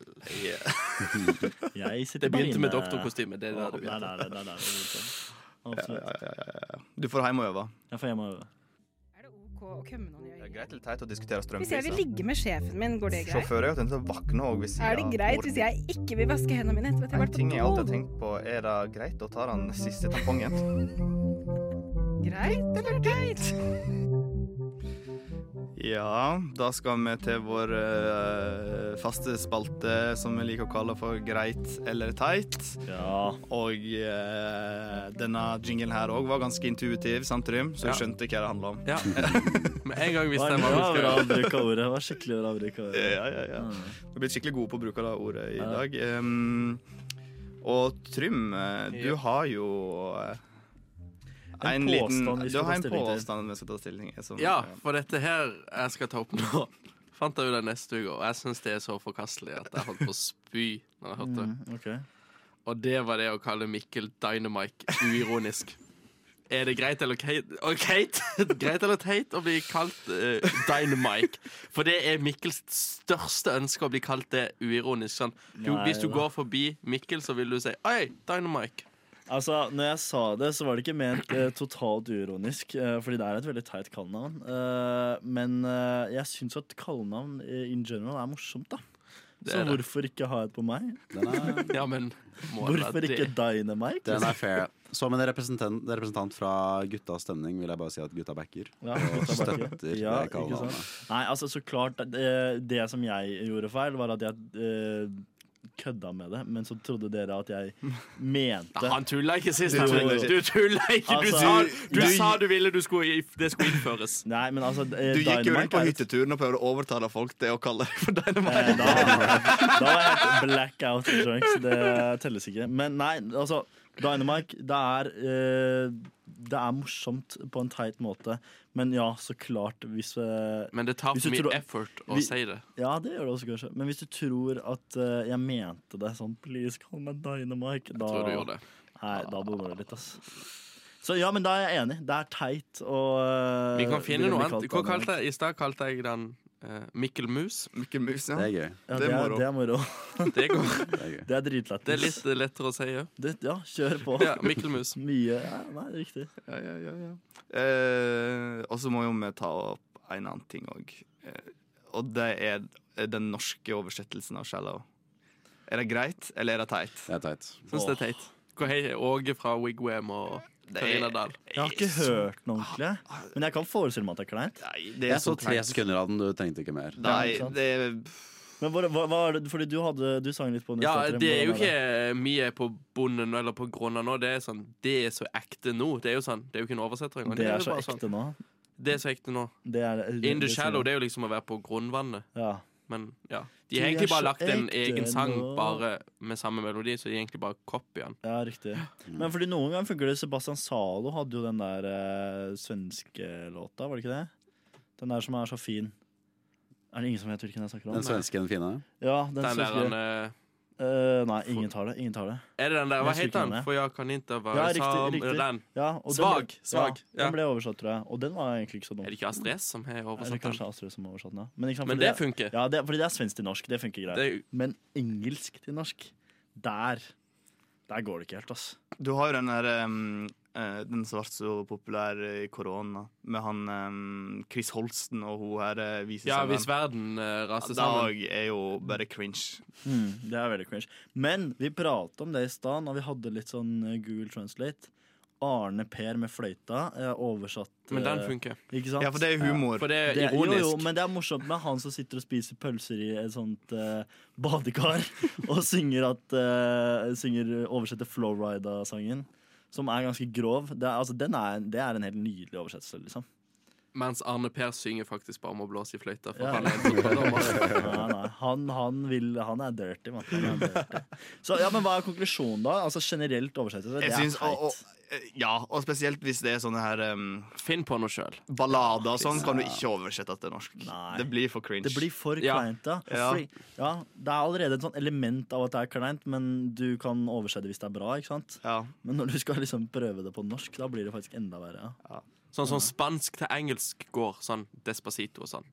S4: Jeg sitter
S6: Det begynte
S4: bare
S6: med
S4: inne-
S6: doktorkostyme. Det er det
S4: Åh,
S6: du
S4: der,
S6: vet.
S4: der, der, der, der, der. Absolutt.
S3: Du får hjem og øve.
S4: Jeg får hjemme og øve.
S8: Er det OK å kømme noen i øyet?
S3: Greit eller teit å diskutere
S8: Hvis jeg vil ligge med sjefen min, går det greit?
S3: Sjåfører er jo tenkt å våkne òg hvis
S8: Er det greit hvis jeg ikke vil vaske hendene mine etter at jeg har
S3: En
S8: vært
S3: ting jeg
S8: på
S3: alltid har tenkt på, er det greit å ta den siste tampongen?
S8: do? Greit eller teit?
S3: Ja, da skal vi til vår eh, faste spalte som vi liker å kalle for Greit eller teit.
S4: Ja.
S3: Og eh, denne jinglen her òg var ganske intuitiv, sant Trym? Så
S6: Ja.
S3: jeg skjønte hva det handla om.
S4: <laughs>
S6: Ja. Med en gang
S4: Var
S6: visste
S4: det
S6: jeg hva vi
S4: var
S6: skulle
S4: bra
S6: gjøre.
S4: bruk av ordet. Var skikkelig bra bruk av ordet.
S3: Ja, ja, ja. Mm. Vi er blitt skikkelig gode på å bruke det ordet i
S4: Ja.
S3: dag. Em, og Trym, eh, du
S6: Ja.
S3: har jo eh,
S4: En
S3: en, liten
S4: påstand vi
S3: Du
S4: skal
S3: har
S4: ta
S3: en
S4: stilling til.
S3: påstand vi skal ta stilling til. som- eh,
S6: Ja, for dette her jeg skal ta opp nå, fant jeg ut av neste uke, og jeg syns det er så forkastelig at jeg holdt på å spy når jeg hørte det.
S4: Mm, ok.
S6: Og det var det å kalle Mikkel Dynamike uironisk. Er det greit eller kate, og Kate, <laughs> greit eller teit å bli kalt eh, Dynamike? For det er Mikkels største ønske å bli kalt det uironisk. Sånn. Du,
S4: Nei
S6: hvis du
S4: da.
S6: går forbi Mikkel, så vil du si 'Oi, Dynamike'.
S4: Altså, når jeg sa det, så var det ikke ment eh, totalt uironisk, eh, fordi det er et veldig teit kallenavn. Eh, men eh, jeg syns at kallenavn eh, in general er morsomt, da.
S6: Det
S4: så
S6: er det.
S4: hvorfor ikke ha et på meg?
S6: Ja, men må det
S4: <laughs>
S6: være
S4: hvorfor ikke
S6: det?
S4: Dynamite?
S5: Den er fair. Som en representant, representant fra guttas stemning vil jeg bare si at gutta backer.
S4: Ja,
S5: og
S4: gutta backer.
S5: støtter
S4: Ja,
S5: det
S4: ikke sant?
S5: kallenavnet.
S4: Nei, altså så klart det, det som jeg gjorde feil, var at jeg eh, kødda med det. Men så trodde dere at jeg mente
S6: Nei, han tulla ikke sist.
S4: Du
S6: han.
S4: tulla ikke.
S6: Du tulla ikke! Du,
S4: Altså,
S6: sa, du,
S4: du-
S6: sa du ville du skulle, i- det skulle innføres.
S4: Nei, men altså Du
S3: Du gikk jo rundt på hytteturen og prøvde å overtale folk til å kalle deg for <laughs>
S6: <laughs>
S3: Dynamite.
S4: Eh, Da var jeg helt blackout drunk, så det telles ikke. Men nei, altså Dynamike, det er eh, Det er morsomt på en teit måte. Men ja, så klart, hvis eh,
S6: Men det tar
S4: hvis
S6: for
S4: du
S6: mye
S4: tror-
S6: effort å si det.
S4: Ja, det gjør det også kanskje. Men hvis du tror at eh, jeg mente det sånn Please call meg Dynamike, da
S6: tror du gjorde det.
S4: Nei, da bommer du litt, ass. Så ja, men da er jeg enig. Det er teit og eh,
S6: Vi kan finne
S4: ville
S6: noe
S4: bli
S6: annet.
S4: kalt
S6: Hva
S4: Dynamite.
S6: kalte jeg I stad kalte jeg den eh, Mikkel Mus.
S3: Mikkel Mus,
S5: Det er gøy.
S4: Ja, det er, det er moro. <laughs>
S6: Det går.
S4: Det er dritlættis.
S6: Det er litt eh, lettere å si òg.
S4: Det, ja, kjør på.
S6: Ja, Mikkel Mus.
S4: Mye ja, Nei, det er riktig.
S3: Ja, ja, ja, ja. Eh, og så må jo vi ta opp en annen ting òg. Eh, og det er den norske oversettelsen av 'shallow'. Er det greit, eller er det teit?
S5: Det er teit.
S6: Syns det er teit. Hvor hei- Åge fra Wigwam og Karina Dahl.
S4: Jeg har ikke hørt den ordentlig. Men jeg kan forestille meg at det er kleint.
S5: Jeg så tre sekunder av den, du trengte ikke
S4: Sånn
S5: mer.
S3: Nei,
S4: Ja, ikke sant?
S3: det
S4: Men hva, hva, hva er det, fordi du, hadde, du sang litt på den i
S6: Ja,
S4: stad, Trym.
S6: det er jo
S4: Hvordan
S6: ikke vi er på bonden eller på grunna nå. Det er sånn, det er så ekte nå. Det er jo sånn, det er jo ikke en oversetter engang.
S4: Det
S6: jo
S4: er så
S6: bare
S4: ekte
S6: sånn.
S4: nå.
S6: Det er så ekte nå.
S4: Det er,
S6: In the shallow, det er jo liksom å være på grunnvannet.
S4: Ja.
S6: Men ja. De
S4: Du
S6: har
S4: er
S6: egentlig bare
S4: så
S6: lagt en
S4: ekte
S6: egen sang
S4: nå.
S6: bare med samme melodi, så de egentlig bare copyer den.
S4: Ja, riktig. Men fordi noen ganger funker det. Sebastian Zalo hadde jo den der eh, svenske låta, var det ikke det? Den der som er så fin. Er det ingen som vet hvilken jeg snakker om?
S5: Den svenske, den fine.
S4: Ja, den,
S6: Den der,
S4: svenske.
S6: han, eh,
S4: Eh, nei, ingen tar det. Ingen tar det.
S6: Er det den der, hva
S4: Jeg husker
S6: heter
S4: ikke
S6: den? For jeg kan ikke
S4: Ja,
S6: være
S4: riktig.
S6: sam...
S4: riktig.
S6: Den.
S4: Ja, og
S6: Svag,
S4: Den,
S6: svag,
S4: Ja, den
S6: ja.
S4: ble oversatt, tror jeg. Og den var egentlig ikke så dum.
S6: Er det ikke Astrid S som har
S4: Eller
S6: oversatt den?
S4: kanskje Astrid som oversatte den. ja. Men, ikke sant,
S6: Men
S4: fordi
S6: det funker.
S4: Ja, det, fordi det er svensk til norsk. Det funker greit.
S6: Det er-
S4: Men engelsk til norsk, der Der går det ikke helt, ass.
S3: Du har jo den der ehm, eh, Den som ble så populær eh, i korona, med han ehm, Chris Holsten og hun her uh,
S6: Ja, hvis verden eh, raser sammen.
S3: Dag er jo bare cringe.
S4: Mm, det er veldig cringe. Men vi pratet om det i stad når vi hadde litt sånn eh, Google Translate. Arne Per med fløyta er oversatt
S6: Men den
S4: eh,
S6: funker.
S4: Ikke sant?
S3: Ja, for det er humor.
S6: For det er
S4: Det er, jo, jo,
S6: ironisk.
S4: men det er morsomt med han som sitter og spiser pølser i et sånt eh, badekar <laughs> og synger, at, eh, synger oversetter Flowrida-sangen, som er ganske grov. Det er, altså, den er, det er en helt nydelig oversettelse, liksom.
S6: Mens Arne Per synger faktisk bare om å blåse i fløyta. For
S4: Ja.
S6: han er en
S4: <laughs>
S6: fotballdommer.
S4: Nei, nei, han, han, vil, han er dirty, mann. Han er dirty. Så, ja, men hva er konklusjonen, da? Altså Generelt oversettelse, det
S3: Jeg
S4: er
S3: synes, og,
S4: teit.
S3: og, eh, ja, og spesielt hvis det er sånne her ehm,
S6: Finn på noe sjøl.
S3: ballader og sånn, kan du ikke oversette til norsk.
S4: Nei.
S3: Det blir for cringe.
S4: Det blir for
S6: Ja.
S4: kleint, ja.
S3: Ja.
S4: Fordi, ja. Det er allerede et sånt element av at det er kleint, men du kan oversette hvis det er bra, ikke sant?
S3: ja.
S4: Men når du skal liksom prøve det på norsk, da blir det faktisk enda verre. Ja,
S6: Sånn som spansk til engelsk går. Sånn Despacito og sånn.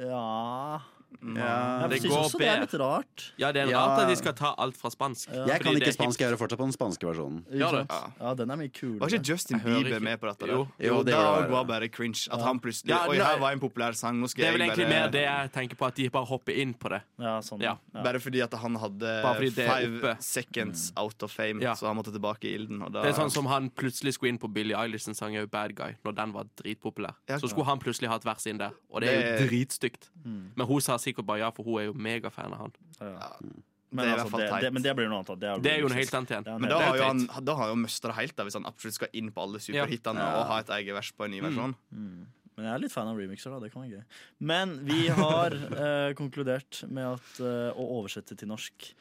S4: ja.
S3: Ja.
S4: Jeg
S6: Det
S4: syns
S6: går
S4: også det er
S6: bedre.
S4: litt rart.
S6: Ja, det er
S5: Ja.
S6: rart at de skal ta alt fra spansk.
S5: Jeg kan
S6: Fordi
S5: ikke
S6: det er
S5: spansk, jeg
S6: hip.
S5: hører fortsatt på den spanske versjonen.
S6: Gjør det?
S4: Ja. den er mye
S3: Var
S4: kulere.
S3: ikke Justin
S6: Jeg hører
S3: Bieber
S6: ikke.
S3: med på dette?
S6: Jo.
S3: der? jo
S5: Jo, det
S3: det
S5: var
S3: var, bare
S5: det.
S3: cringe. At han plutselig
S6: Ja,
S3: Oi,
S6: nei.
S3: her var en populær sang, nå skal
S6: Det er vel
S3: jeg
S6: egentlig mer
S3: bare
S6: det jeg tenker på, at de bare hopper inn på det.
S4: Ja, sånn.
S6: Ja.
S3: Bare fordi at han hadde
S6: Bare fordi det er
S3: five
S6: oppe.
S3: seconds out of fame,
S6: Ja.
S3: så han måtte tilbake i ilden. Og da,
S6: Det er sånn som han plutselig skulle inn på Billie Eilish sin sang er jo Bad Guy, når den var dritpopulær.
S3: Ja.
S6: Så skulle han plutselig ha et vers inn der, og det er jo
S3: Det- Mm.
S6: dritstygt. Men hun sa sikkert bare ja, for hun er jo megafan av han.
S4: Men,
S3: det er i
S4: altså,
S3: hvert fall
S4: det,
S3: teit.
S4: det, men det blir noe annet. da. Det er,
S6: Det er jo noe helt annet igjen.
S4: Det er
S3: Men
S4: noe
S3: da
S6: er
S3: har
S6: jo
S3: jo han,
S6: teit.
S3: da har jo møstra helt, da, hvis han absolutt skal inn på alle superhitene og ha et eget vers på en ny versjon.
S4: Men jeg er litt fan av remixer, da. Det kan være gøy. Men
S3: <laughs>
S4: vi har eh, konkludert med at eh, å oversette til norsk,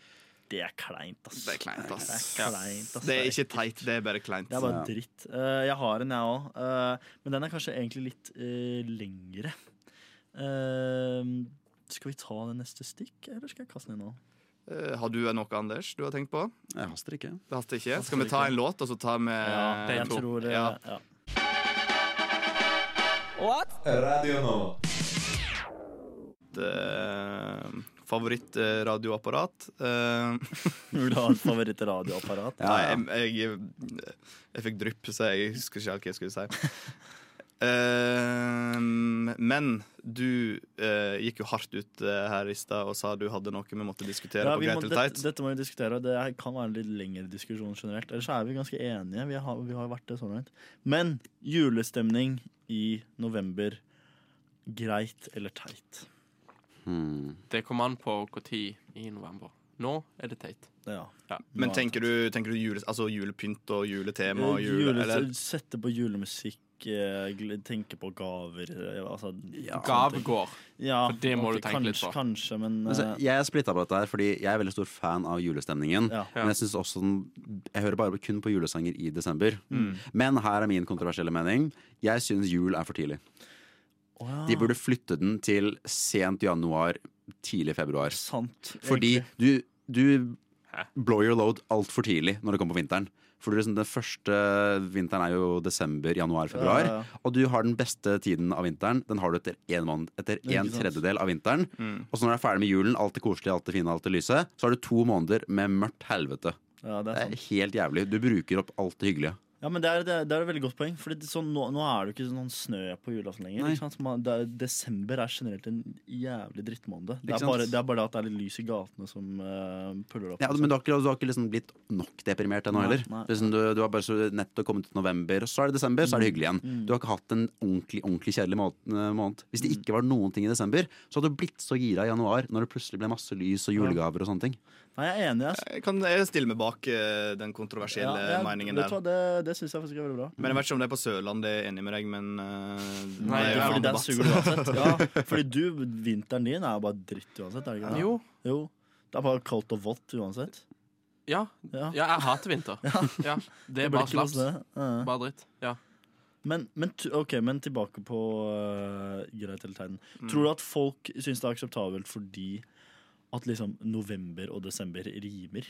S4: det er kleint, ass.
S3: Det er kleint, ass.
S4: Det er kleint, ass.
S3: Det er ikke teit, det er bare kleint.
S4: Det er bare dritt. Eh, jeg har en, jeg òg. men den er kanskje egentlig litt eh, lengre. Eh, skal vi ta det neste stikk, eller skal jeg kaste den inn nå?
S3: Eh, Har du noe, Anders, du har tenkt på?
S5: Jeg haster ikke.
S3: Det haster ikke. Skal vi ta en låt, og så tar vi
S4: jeg
S6: to.
S4: tror eh,
S3: Ja.
S4: ja.
S8: What?
S1: Radio nå.
S3: Eh, Favorittradioapparat. Eh,
S4: Vil du ha et
S3: <laughs>
S4: favorittradioapparat?
S3: Nei, jeg, jeg, jeg fikk drypp, så jeg husker ikke helt hva jeg skulle si. Eh, men du eh, gikk jo hardt ut eh, her i stad og sa du hadde noe vi måtte diskutere
S4: Ja,
S3: på
S4: vi må,
S3: Greit eller
S4: dette,
S3: teit.
S4: dette må vi diskutere, og det er- kan være en litt lengre diskusjon generelt. Ellers er vi ganske enige. Vi har, vi har vært det så langt. Men julestemning i november. Greit eller teit?
S5: Hmm.
S6: Det kommer an på når i november. Nå er det teit.
S4: Ja.
S3: Men tenker du, tenker du jule, altså julepynt og juletema og jule,
S4: Jule,
S3: eller?
S4: sette på julemusikk, eh, gl- tenke på gaver eh, altså, sånne ting.
S6: Gavegård.
S4: Ja,
S6: For det må du
S4: ok,
S6: tenke litt
S4: kanskje-
S6: på.
S4: Kanskje, men
S5: Altså,
S4: eh,
S5: jeg er splitta på dette her, fordi jeg er veldig stor fan av julestemningen. Men jeg synes også den, Jeg hører bare kun på julesanger i desember.
S4: Mm.
S5: Men her er min kontroversielle mening. Jeg syns jul er for tidlig. De burde flytte den til sent januar, tidlig februar.
S4: Sant,
S5: Fordi du, du blow your load altfor tidlig når det kommer på vinteren. For det er liksom den første vinteren er jo desember, januar, februar.
S4: Ja, ja, ja.
S5: Og du har den beste tiden av vinteren. Den har du etter en, måned, etter
S4: Ikke
S5: en
S4: sant.
S5: tredjedel av vinteren.
S4: Mm.
S5: Og så når du er ferdig med julen, alt det koselige, alt det fine, alt det lyse, så har du to måneder med mørkt helvete.
S4: Ja, det er sant.
S5: helt jævlig. Du bruker opp alt det hyggelige.
S4: Ja, men det er, det, er, det er et veldig godt poeng. Fordi det- sånn, nå, nå er det jo ikke sånn snø på julaften lenger.
S5: Nei.
S4: Ikke sant? Man, det er, desember er generelt en jævlig drittmåned. Det
S5: Ikke
S4: er,
S5: sant?
S4: bare, det er bare det at det er litt lys i gatene som eh, puller opp.
S5: Ja, men du har ikke, du har ikke liksom blitt nok deprimert ennå
S4: Nei,
S5: heller.
S4: nei.
S5: Liksom du, du har bare så nettopp kommet ut november, og så er det desember, så er det hyggelig igjen.
S4: Mm.
S5: Du har ikke hatt en ordentlig ordentlig kjedelig må- eh, måned. Hvis det
S3: Mm.
S5: ikke var noen ting i desember, så hadde du blitt så gira i januar når det plutselig ble masse lys og julegaver og sånne ting.
S4: Nei, jeg er enig. ass.
S3: Jeg kan jeg stiller meg bak eh, den kontroversielle
S4: Ja, jeg-
S3: meningen
S4: vet
S3: der.
S4: du hva, det det syns jeg faktisk er veldig bra.
S3: Men jeg vet ikke om det er på Sørlandet jeg er enig med deg, men eh,
S4: Nei,
S3: det er jo en
S4: fordi
S3: annen
S4: der
S3: debatt.
S4: suger du uansett.
S3: <laughs>
S4: Ja, fordi du, vinteren din er jo bare dritt uansett, er det ikke det?
S6: Jo.
S4: jo. Det er bare kaldt og vått uansett.
S6: Ja. ja, jeg hater vinter. Ja. Det
S4: Det
S6: er
S4: blir
S6: bare
S4: ikke
S6: slaps.
S4: noe sted. Ja.
S6: Bare dritt. Ja.
S4: Men, men, t- ok, men tilbake på øh, greit eller tegn.
S6: Mm.
S4: Tror du at folk syns det er akseptabelt fordi at liksom november og desember rimer?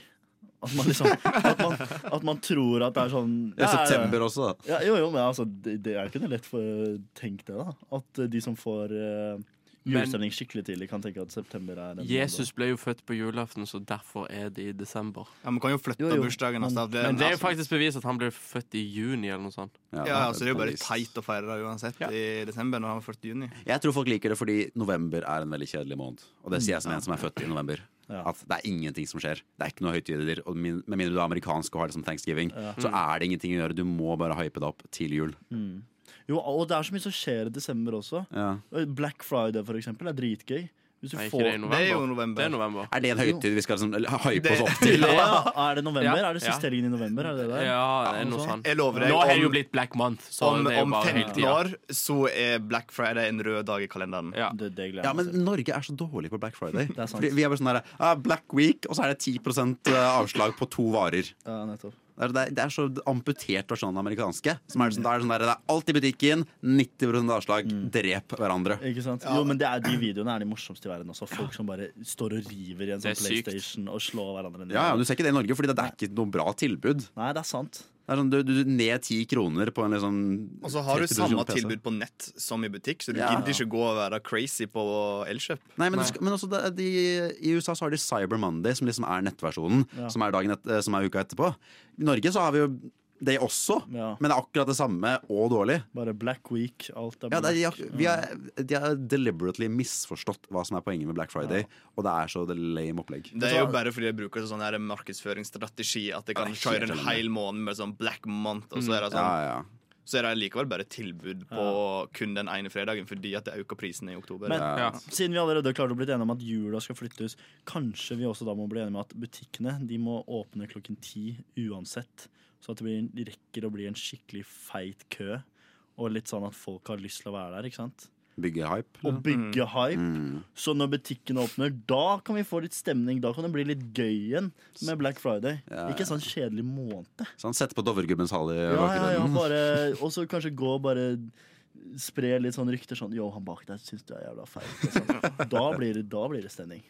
S4: At man liksom At man, at man tror at det er sånn
S5: Det er september også, da.
S4: Ja, jo, jo, men altså, det, det er ikke noe lett for Tenk det, da. At øh, de som får øh, julestemning skikkelig tidlig, kan tenke at september er en
S6: Jesus ble jo født på julaften, så derfor er det i desember.
S3: Ja, Man kan jo flytte
S4: Jo, jo,
S3: bursdagen hans.
S4: men-
S3: da.
S6: Men det er jo
S3: altså-
S6: faktisk bevis at han ble født i juni eller noe sånt.
S3: Ja, altså, det er jo bare teit å feire det umåte uansett i desember når han var 40 juni.
S5: Jeg tror folk liker det fordi november er en veldig kjedelig måned. Og det sier jeg som en som er født i november. At det er ingenting som skjer. Det er ikke noe høytider. Og min- med mindre du er amerikansk og har det som thanksgiving,
S4: Ja.
S5: så
S4: Mm.
S5: er det ingenting å gjøre. Du må bare hype det opp til jul.
S4: Mm. Jo, og det er så mye som skjer i desember også.
S5: Ja.
S4: Black Friday, for eksempel, er dritgøy. Hvis du
S5: Er ikke
S4: får-
S5: det i november? Det er jo november. Det er november. Er det en høytid vi skal liksom hype
S4: Det-
S5: oss opp
S3: <laughs>
S5: til?
S4: Ja, er det november?
S6: Ja.
S4: Er det siste helgen i november? Er det der?
S6: Ja, det er noe
S4: sånt.
S6: sånt.
S3: Jeg lover deg,
S6: Nå har det
S3: om-
S6: jo blitt Black Month, så
S3: om,
S6: det er jo
S3: om
S6: bare
S3: 15 år så er Black Friday en rød dag i kalenderen.
S6: Ja,
S4: det, det
S5: Ja, men Norge er så dårlig på Black Friday.
S3: Det er sant.
S5: Fordi vi er bare sånn der, ah, Black Week, og så er det 10 avslag på to varer.
S4: Ja, nettopp.
S5: Det er, det er- det er så amputert versjon av den amerikanske. Som er sånn, det, er sånn der, det er alt i butikken, 90 avslag,
S3: Mm.
S5: drep hverandre.
S4: Ikke sant? Jo, men det er, de videoene er de morsomste i verden også. Folk som bare står og river i en
S5: Det er
S4: sånn
S5: sykt.
S4: PlayStation og slår hverandre ned.
S5: Ja, ja, men Du ser ikke det i Norge, Fordi det, det er ikke noe bra tilbud.
S4: Nei, det er sant
S5: Det er sånn, du, du, du Ned ti kroner på en liksom
S3: Og så har du
S5: 30 000
S3: samme
S5: PC.
S3: tilbud på nett som i butikk, så du
S5: Ja.
S3: gidder ikke gå og være crazy på Elkjøp.
S5: Nei, men, det skal- men også det, de, I USA så har de Cyber Monday, som liksom er nettversjonen.
S3: Ja.
S5: Som, er dagen et, eh, som er uka etterpå. I Norge så har vi jo det også, men det er akkurat det samme og dårlig.
S4: Bare Black Week, alt er
S5: Ja, det er, de,
S4: black.
S5: har- vi har- de har deliberately misforstått hva som er poenget med Black Friday, og det er så det lame opplegg.
S3: Det er jo bare fordi jeg bruker sånn her markedsføringsstrategi at jeg
S5: Ja,
S3: kan
S5: det er
S3: kjøre
S5: helt
S3: en
S5: enig.
S3: hel måned med sånn black month, og så er det sånn
S5: Mm. Ja, ja.
S3: Så er det likevel bare tilbud på kun den ene fredagen fordi at det øker prisene i oktober.
S4: Men siden vi allerede har klart å bli enige om at jula skal flyttes, kanskje vi også da må bli enige om at butikkene de må åpne klokken ti uansett. Så at det blir, de rekker å bli en skikkelig feit kø, og litt sånn at folk har lyst til å være der. ikke sant?
S5: Bygge hype.
S4: Og bygge hype.
S5: Mm.
S4: Så når butikkene åpner, da kan vi få litt stemning. Da kan det bli litt gøy igjen med Black Friday.
S5: Ja,
S4: Ikke
S5: ja.
S4: sånn kjedelig måned.
S5: Sånn, Sett på Dovregubbens hall i
S4: Ja, ja, ja,
S5: bakgrunnen.
S4: bare,
S5: <laughs>
S4: og så kanskje gå og bare spre litt sånn rykter sånn Yo, han bak der syns du er jævla feil.
S5: <laughs>
S4: Sånn. Da, blir det, da blir det stemning.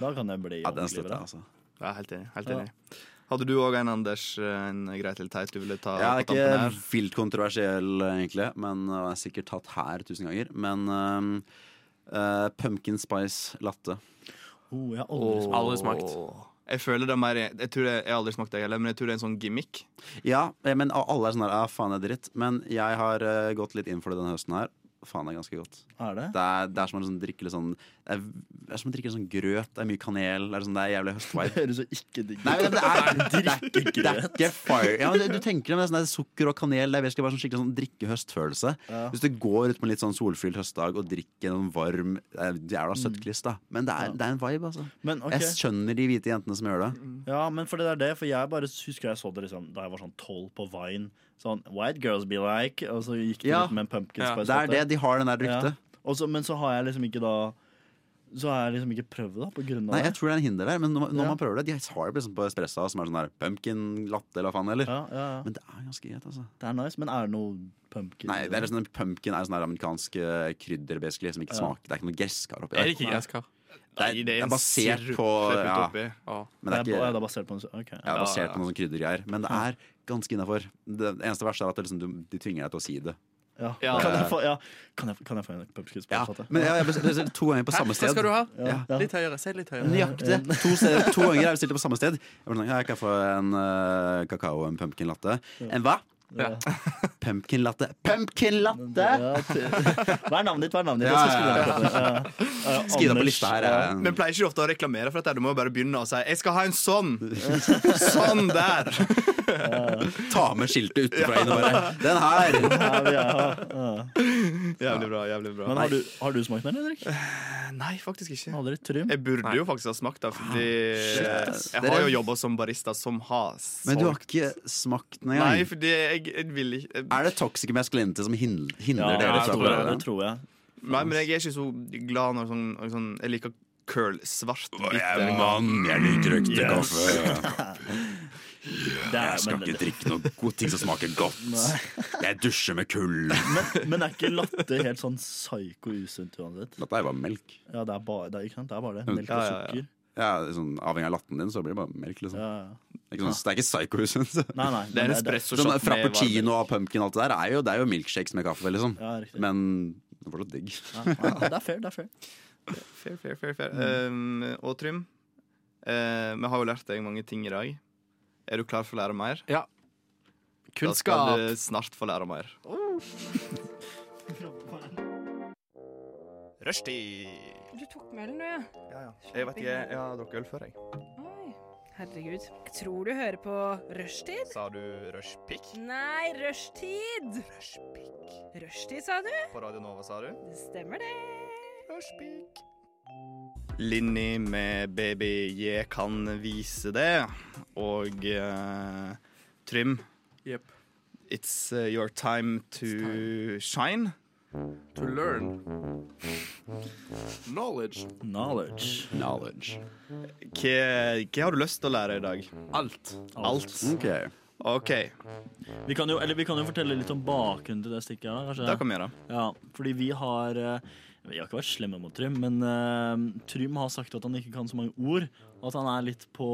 S4: Da kan jeg bli
S5: Ja, den
S4: ordentlig
S5: støtter
S4: bra.
S5: jeg, altså.
S3: Ja, helt enig. Helt
S4: Ja.
S3: enig. Hadde du òg en, Anders, en grei til teit du ville ta
S5: Ja, det
S3: på
S5: er
S3: tampen
S5: ikke
S3: her?
S5: vilt kontroversiell, egentlig. Men øh, jeg er sikkert tatt her tusen ganger. Men øhm, øh, pumpkin spice latte.
S4: Oh, jeg har
S3: Åh. Jeg føler det er mer Jeg tror jeg, jeg har aldri smakt det heller, men jeg tror det er en sånn gimmick.
S5: Ja, eh, men alle er sånn her, ja, faen det er dritt. Men jeg har eh, gått litt inn for det denne høsten her. Faen, det er ganske godt.
S4: Er det?
S5: Det er, det er som å liksom drikke litt sånn det er, det er som å drikke litt sånn grøt. Det er mye kanel. Det er, sånn, det er jævlig
S4: <laughs>
S5: høstvibe.
S4: Høres jo ikke digg ut.
S5: <laughs> Nei, men
S4: <laughs>
S5: det er, det er, ikke, det er
S4: grøt.
S5: ikke fire ja, men det, Du tenker det, men det er sånn, det er sukker og kanel. Det er basically bare sånn skikkelig sånn drikke-høstfølelse.
S4: Ja.
S5: Hvis du går ut på en litt sånn solfylt høstdag og drikker en varm det er Jævla søttkliss, da. Men det er, det er en vibe, altså.
S4: Mm. Men, ok. Mm.
S5: Jeg skjønner de hvite jentene som gjør det.
S4: Ja, men for det er det, for jeg bare husker jeg så det liksom, da jeg var sånn tolv på Vine. Sånn White girls be like, og så gikk det
S5: Ja.
S4: ut med en pumpkin
S5: Ja.
S4: spice.
S5: Det er
S4: latte.
S5: det, de har den der ryktet.
S4: Ja. Og så- men så har jeg liksom ikke da Så har jeg liksom ikke prøvd det, da, på grunn av
S5: Nei, jeg tror det er en hinder der, men når, man- når
S4: Ja.
S5: man prøver det De har det liksom på espressa som er sånn der pumpkin latte eller hva faen, eller?
S4: Ja, ja, ja.
S5: Men det er ganske greit, altså.
S4: Det er nice, men er det noe pumpkin?
S5: Nei, det er sånn, pumpkin er sånn der amerikansk eh, krydder, basically, som ikke
S4: Ja.
S5: smaker Det er ikke noe gresskar oppi
S4: Er det ikke gresskar?
S5: Det
S4: Nei,
S5: er,
S4: det er
S5: det
S4: en
S5: er basert
S4: sirup
S5: på
S4: klippet
S5: ja.
S4: oppi. Ja.
S5: Men det er
S4: Det er ba- ja,
S5: ikke
S4: det er basert på en- ok.
S5: Ja,
S4: Ja,
S5: basert
S4: ja.
S5: på noen sånne kryddergreier. Men det er ganske innafor. Det eneste verste er at det liksom, du, de tvinger deg til å si det.
S4: Ja.
S5: Ja.
S4: Kan, jeg få, ja. Kan, jeg, kan jeg få en pumpkin spice latte?
S5: Men jeg, jeg bestilte to ganger på
S4: Hæ?
S5: samme
S4: Hva
S5: sted.
S4: skal du ha?
S5: Ja.
S4: Ja.
S6: Litt høyere. Si litt høyere.
S5: Nøyaktig. To, steder, to ganger jeg bestilte på samme sted. Jeg var sånn, ja, jeg kan få en eh, kakao og en pumpkin latte. En hva?
S4: Ja.
S5: Pumpkin latte. Pumpkin latte!
S4: <laughs> Hva er navnet ditt? Hva er navnet ditt?
S5: Ja,
S4: Jeg
S5: ja,
S4: skal skrive
S5: ja.
S4: det på. Ja, ja,
S5: Skriv det på
S4: Anders,
S5: lista her.
S4: ja.
S5: eh.
S3: Men pleier ikke du ofte å reklamere for dette? Du må jo bare begynne å si 'jeg skal ha en
S5: <laughs>
S3: sånn'. Sånn der.
S5: Ta med skiltet utenfra inn og bare Den her!
S4: <laughs>
S3: Jævlig bra. jævlig bra
S4: Men har du, har du smakt den, Henrik?
S3: Nei, faktisk ikke.
S4: Aldri trym?
S3: Jeg burde jo faktisk ha smakt det, fordi
S5: Ah, Shit, ass.
S3: jeg har jo
S5: Dere-
S3: jobba som barista som har
S5: Men du har
S3: solgt.
S5: ikke smakt den engang?
S3: Nei, fordi jeg, jeg vil ikke jeg-
S5: Er det toxic masculinity som hin-
S4: Ja,
S5: hindrer
S4: det,
S5: dere
S4: liksom.
S5: fra å
S4: tror jeg,
S5: prøve
S4: det
S5: den?
S4: tror jeg.
S3: Nei, men jeg er ikke så glad når sånn, når sånn Jeg liker curl, svart, bitter
S5: jeg liker røkt
S4: Det er- men-
S5: drikke noe god ting som smaker godt. Jeg dusjer med kull.
S4: Men, men er ikke latte helt sånn psyko usunt uansett?
S5: Dette er bare melk.
S4: Ja, det er bare det, er, ikke sant? Det er bare det.
S5: Mm.
S4: Melk
S5: Ja,
S4: og
S5: ja, ja.
S4: sukker.
S5: Ja, sånn, avhengig av latten din, så blir det bare melk. Liksom.
S4: Ja, ja.
S5: Det er ikke sånn- det er ikke <laughs> psycho-usunt.
S4: Nei, nei. men
S3: Det er espresso
S5: Sånn
S3: shot med varm-
S5: Frappuccino og pumpkin og alt det der er jo, det er jo milkshakes med kaffe, liksom.
S4: Ja, riktig.
S5: Men det var så digg.
S4: Ja, ja, det er fair, det er fair.
S3: Fair, fair, fair, fair. Um, og Trym, eh, vi har jo lært deg mange ting i dag. Er du klar for å lære mer?
S6: Ja.
S3: Da
S6: Kunnskap.
S3: skal du snart få lære mer. Rushtid.
S8: Du tok med ølen, du, ja.
S3: Jeg vet ikke, jeg har drukket øl før, jeg.
S8: Oi, herregud. Jeg tror du hører på rushtid.
S3: Sa du rushpick?
S8: Nei, rushtid! Rushpick. Rushtid, sa du?
S3: På Radio Nova, sa du?
S8: Det stemmer det. Rushpick.
S3: Linni med baby, jeg kan vise det. Og eh, Trym,
S6: Jepp.
S3: it's eh, your time to shine.
S6: To learn. Knowledge.
S4: Knowledge.
S5: Knowledge.
S3: Hva, hva har du lyst til å lære i dag?
S6: Alt.
S3: Alt.
S5: Ok.
S3: OK,
S4: Vi kan, jo, eller vi kan jo fortelle litt om bakgrunnen til det stikket her, da, kanskje?
S3: det kan vi gjøre.
S4: Ja, fordi vi har eh, Vi har ikke vært slemme mot Trym, men eh, Trym har sagt at han ikke kan så mange ord. Og at han er litt på,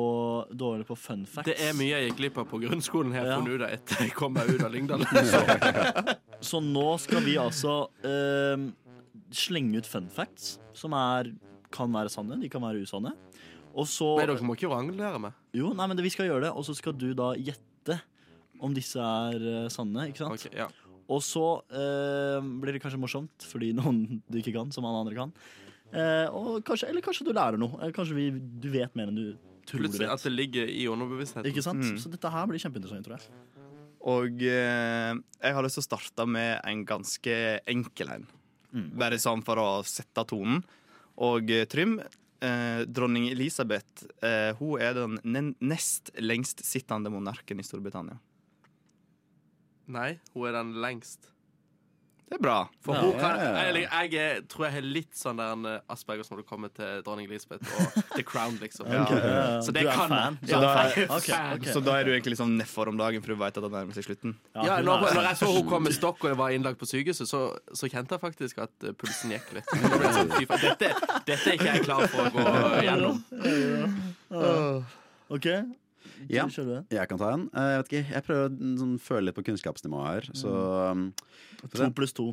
S4: dårlig på fun facts.
S6: Det er mye jeg gikk glipp av på grunnskolen her,
S4: Ja.
S6: funnet ut av etter jeg kom meg ut av Lyngdal. Så,
S4: Så nå skal vi altså eh, slenge ut fun facts, som er, kan være sanne, de kan være usanne. Og så
S6: nei, dere må ikke vranglære meg.
S4: Jo, nei, men det, vi skal gjøre det, og så skal du da gjette om disse er eh, sanne, ikke sant?
S6: Ok, ja.
S4: Og så eh, blir det kanskje morsomt, fordi <laughs> noen du ikke kan, som alle andre kan. Eh, og kanskje, eller kanskje du lærer noe. Eller kanskje vi, du vet mer enn du tror du
S6: Plutselig altså.
S4: vet.
S6: at det ligger i underbevisstheten.
S4: Ikke sant?
S3: Mm.
S4: Så dette her blir kjempeinteressant, tror jeg.
S3: Og eh, jeg har lyst til å starte med en ganske enkel en.
S6: Mm.
S3: Bare sånn for å sette tonen. Og eh, Trym, eh, dronning Elisabeth, eh, hun er den nen- nest lengst sittende monarken i Storbritannia.
S6: Nei, hun er den lengst.
S3: Det er bra.
S6: For
S4: Ja.
S6: hun kan,
S5: Ja.
S6: eller, jeg er, tror jeg har litt sånn der en eh, Aspergers når det kommer til dronning Elisabeth og The Crown, liksom.
S4: Ok, ja, ja.
S6: Så det
S4: Eh, du er
S6: kan
S4: fan. Du
S6: Ja,
S4: er fan.
S6: jeg er
S4: Ok,
S6: fan.
S4: ok.
S3: Så da er du egentlig liksom nedfor om dagen, for du veit at det nærmer seg slutten.
S6: Ja,
S4: hun
S6: når,
S4: er-
S6: når jeg så hun kom med stokk og jeg var innlagt på sykehuset, så, så kjente jeg faktisk at eh, pulsen gikk litt. Da ble jeg sånn, fy faen, Dette, dette er ikke jeg klar for å gå gjennom.
S4: OK.
S5: Ja,
S4: Kjører du den?
S5: jeg kan ta en. Eh, Jeg vet ikke, jeg prøver å mm, sånn, føle litt på kunnskapsnivået her. Så, um,
S4: To pluss to.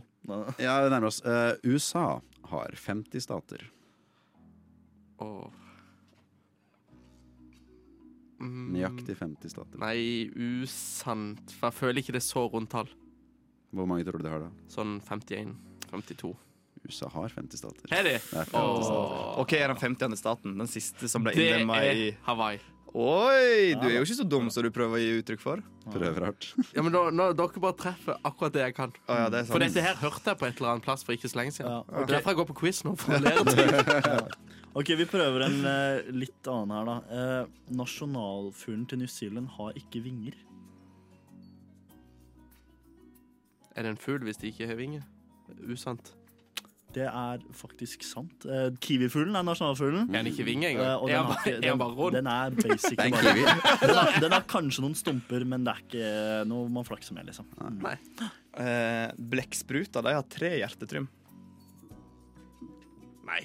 S5: Ja, det nærmer oss. Eh, USA har 50 stater.
S6: Mm.
S5: Nøyaktig 50 stater.
S6: Nei, usant. For jeg føler ikke det er så rundt tall.
S5: Hvor mange tror du de har da?
S6: Sånn 51, 52.
S5: USA har 50 stater.
S6: Har de?
S5: Det er 50 stater.
S3: Åh. OK, er den 50. staten den siste som ble
S6: Det
S3: innlemma
S6: er
S3: i
S6: Hawaii.
S3: Oi! Du er jo ikke så dum som du prøver å gi uttrykk for.
S5: Prøver hardt.
S6: Ja, men da, nå, Dere bare treffer akkurat det jeg kan.
S3: Å ja, det er sant.
S6: For dette her hørte jeg på et eller annet plass for ikke så lenge siden.
S4: Ja,
S6: Og
S4: ok.
S6: Derfor jeg går på quiz nå. for å
S3: <laughs>
S6: lære ting.
S4: OK, vi prøver en eh, litt annen her, da. Eh, nasjonalfuglen til New Zealand har ikke vinger.
S6: Er det en fugl hvis de ikke har vinger? Usant.
S4: Det er faktisk sant. Eh, kiwifuglen er nasjonalfuglen.
S6: Er den ikke vinge engang?
S4: Eh, og
S6: Er
S4: den
S6: han
S4: har
S6: bare-
S4: ikke-
S6: er
S4: den-
S6: han bare rund?
S4: Den
S6: <laughs>
S4: er
S6: Det er
S4: basically
S6: en
S4: bare
S6: kiwi.
S4: den, har, den har kanskje noen stumper, men det er ikke noe man flakser med, liksom.
S6: Nei.
S3: Eh, Blekkspruta de har tre hjertetrym.
S6: Nei.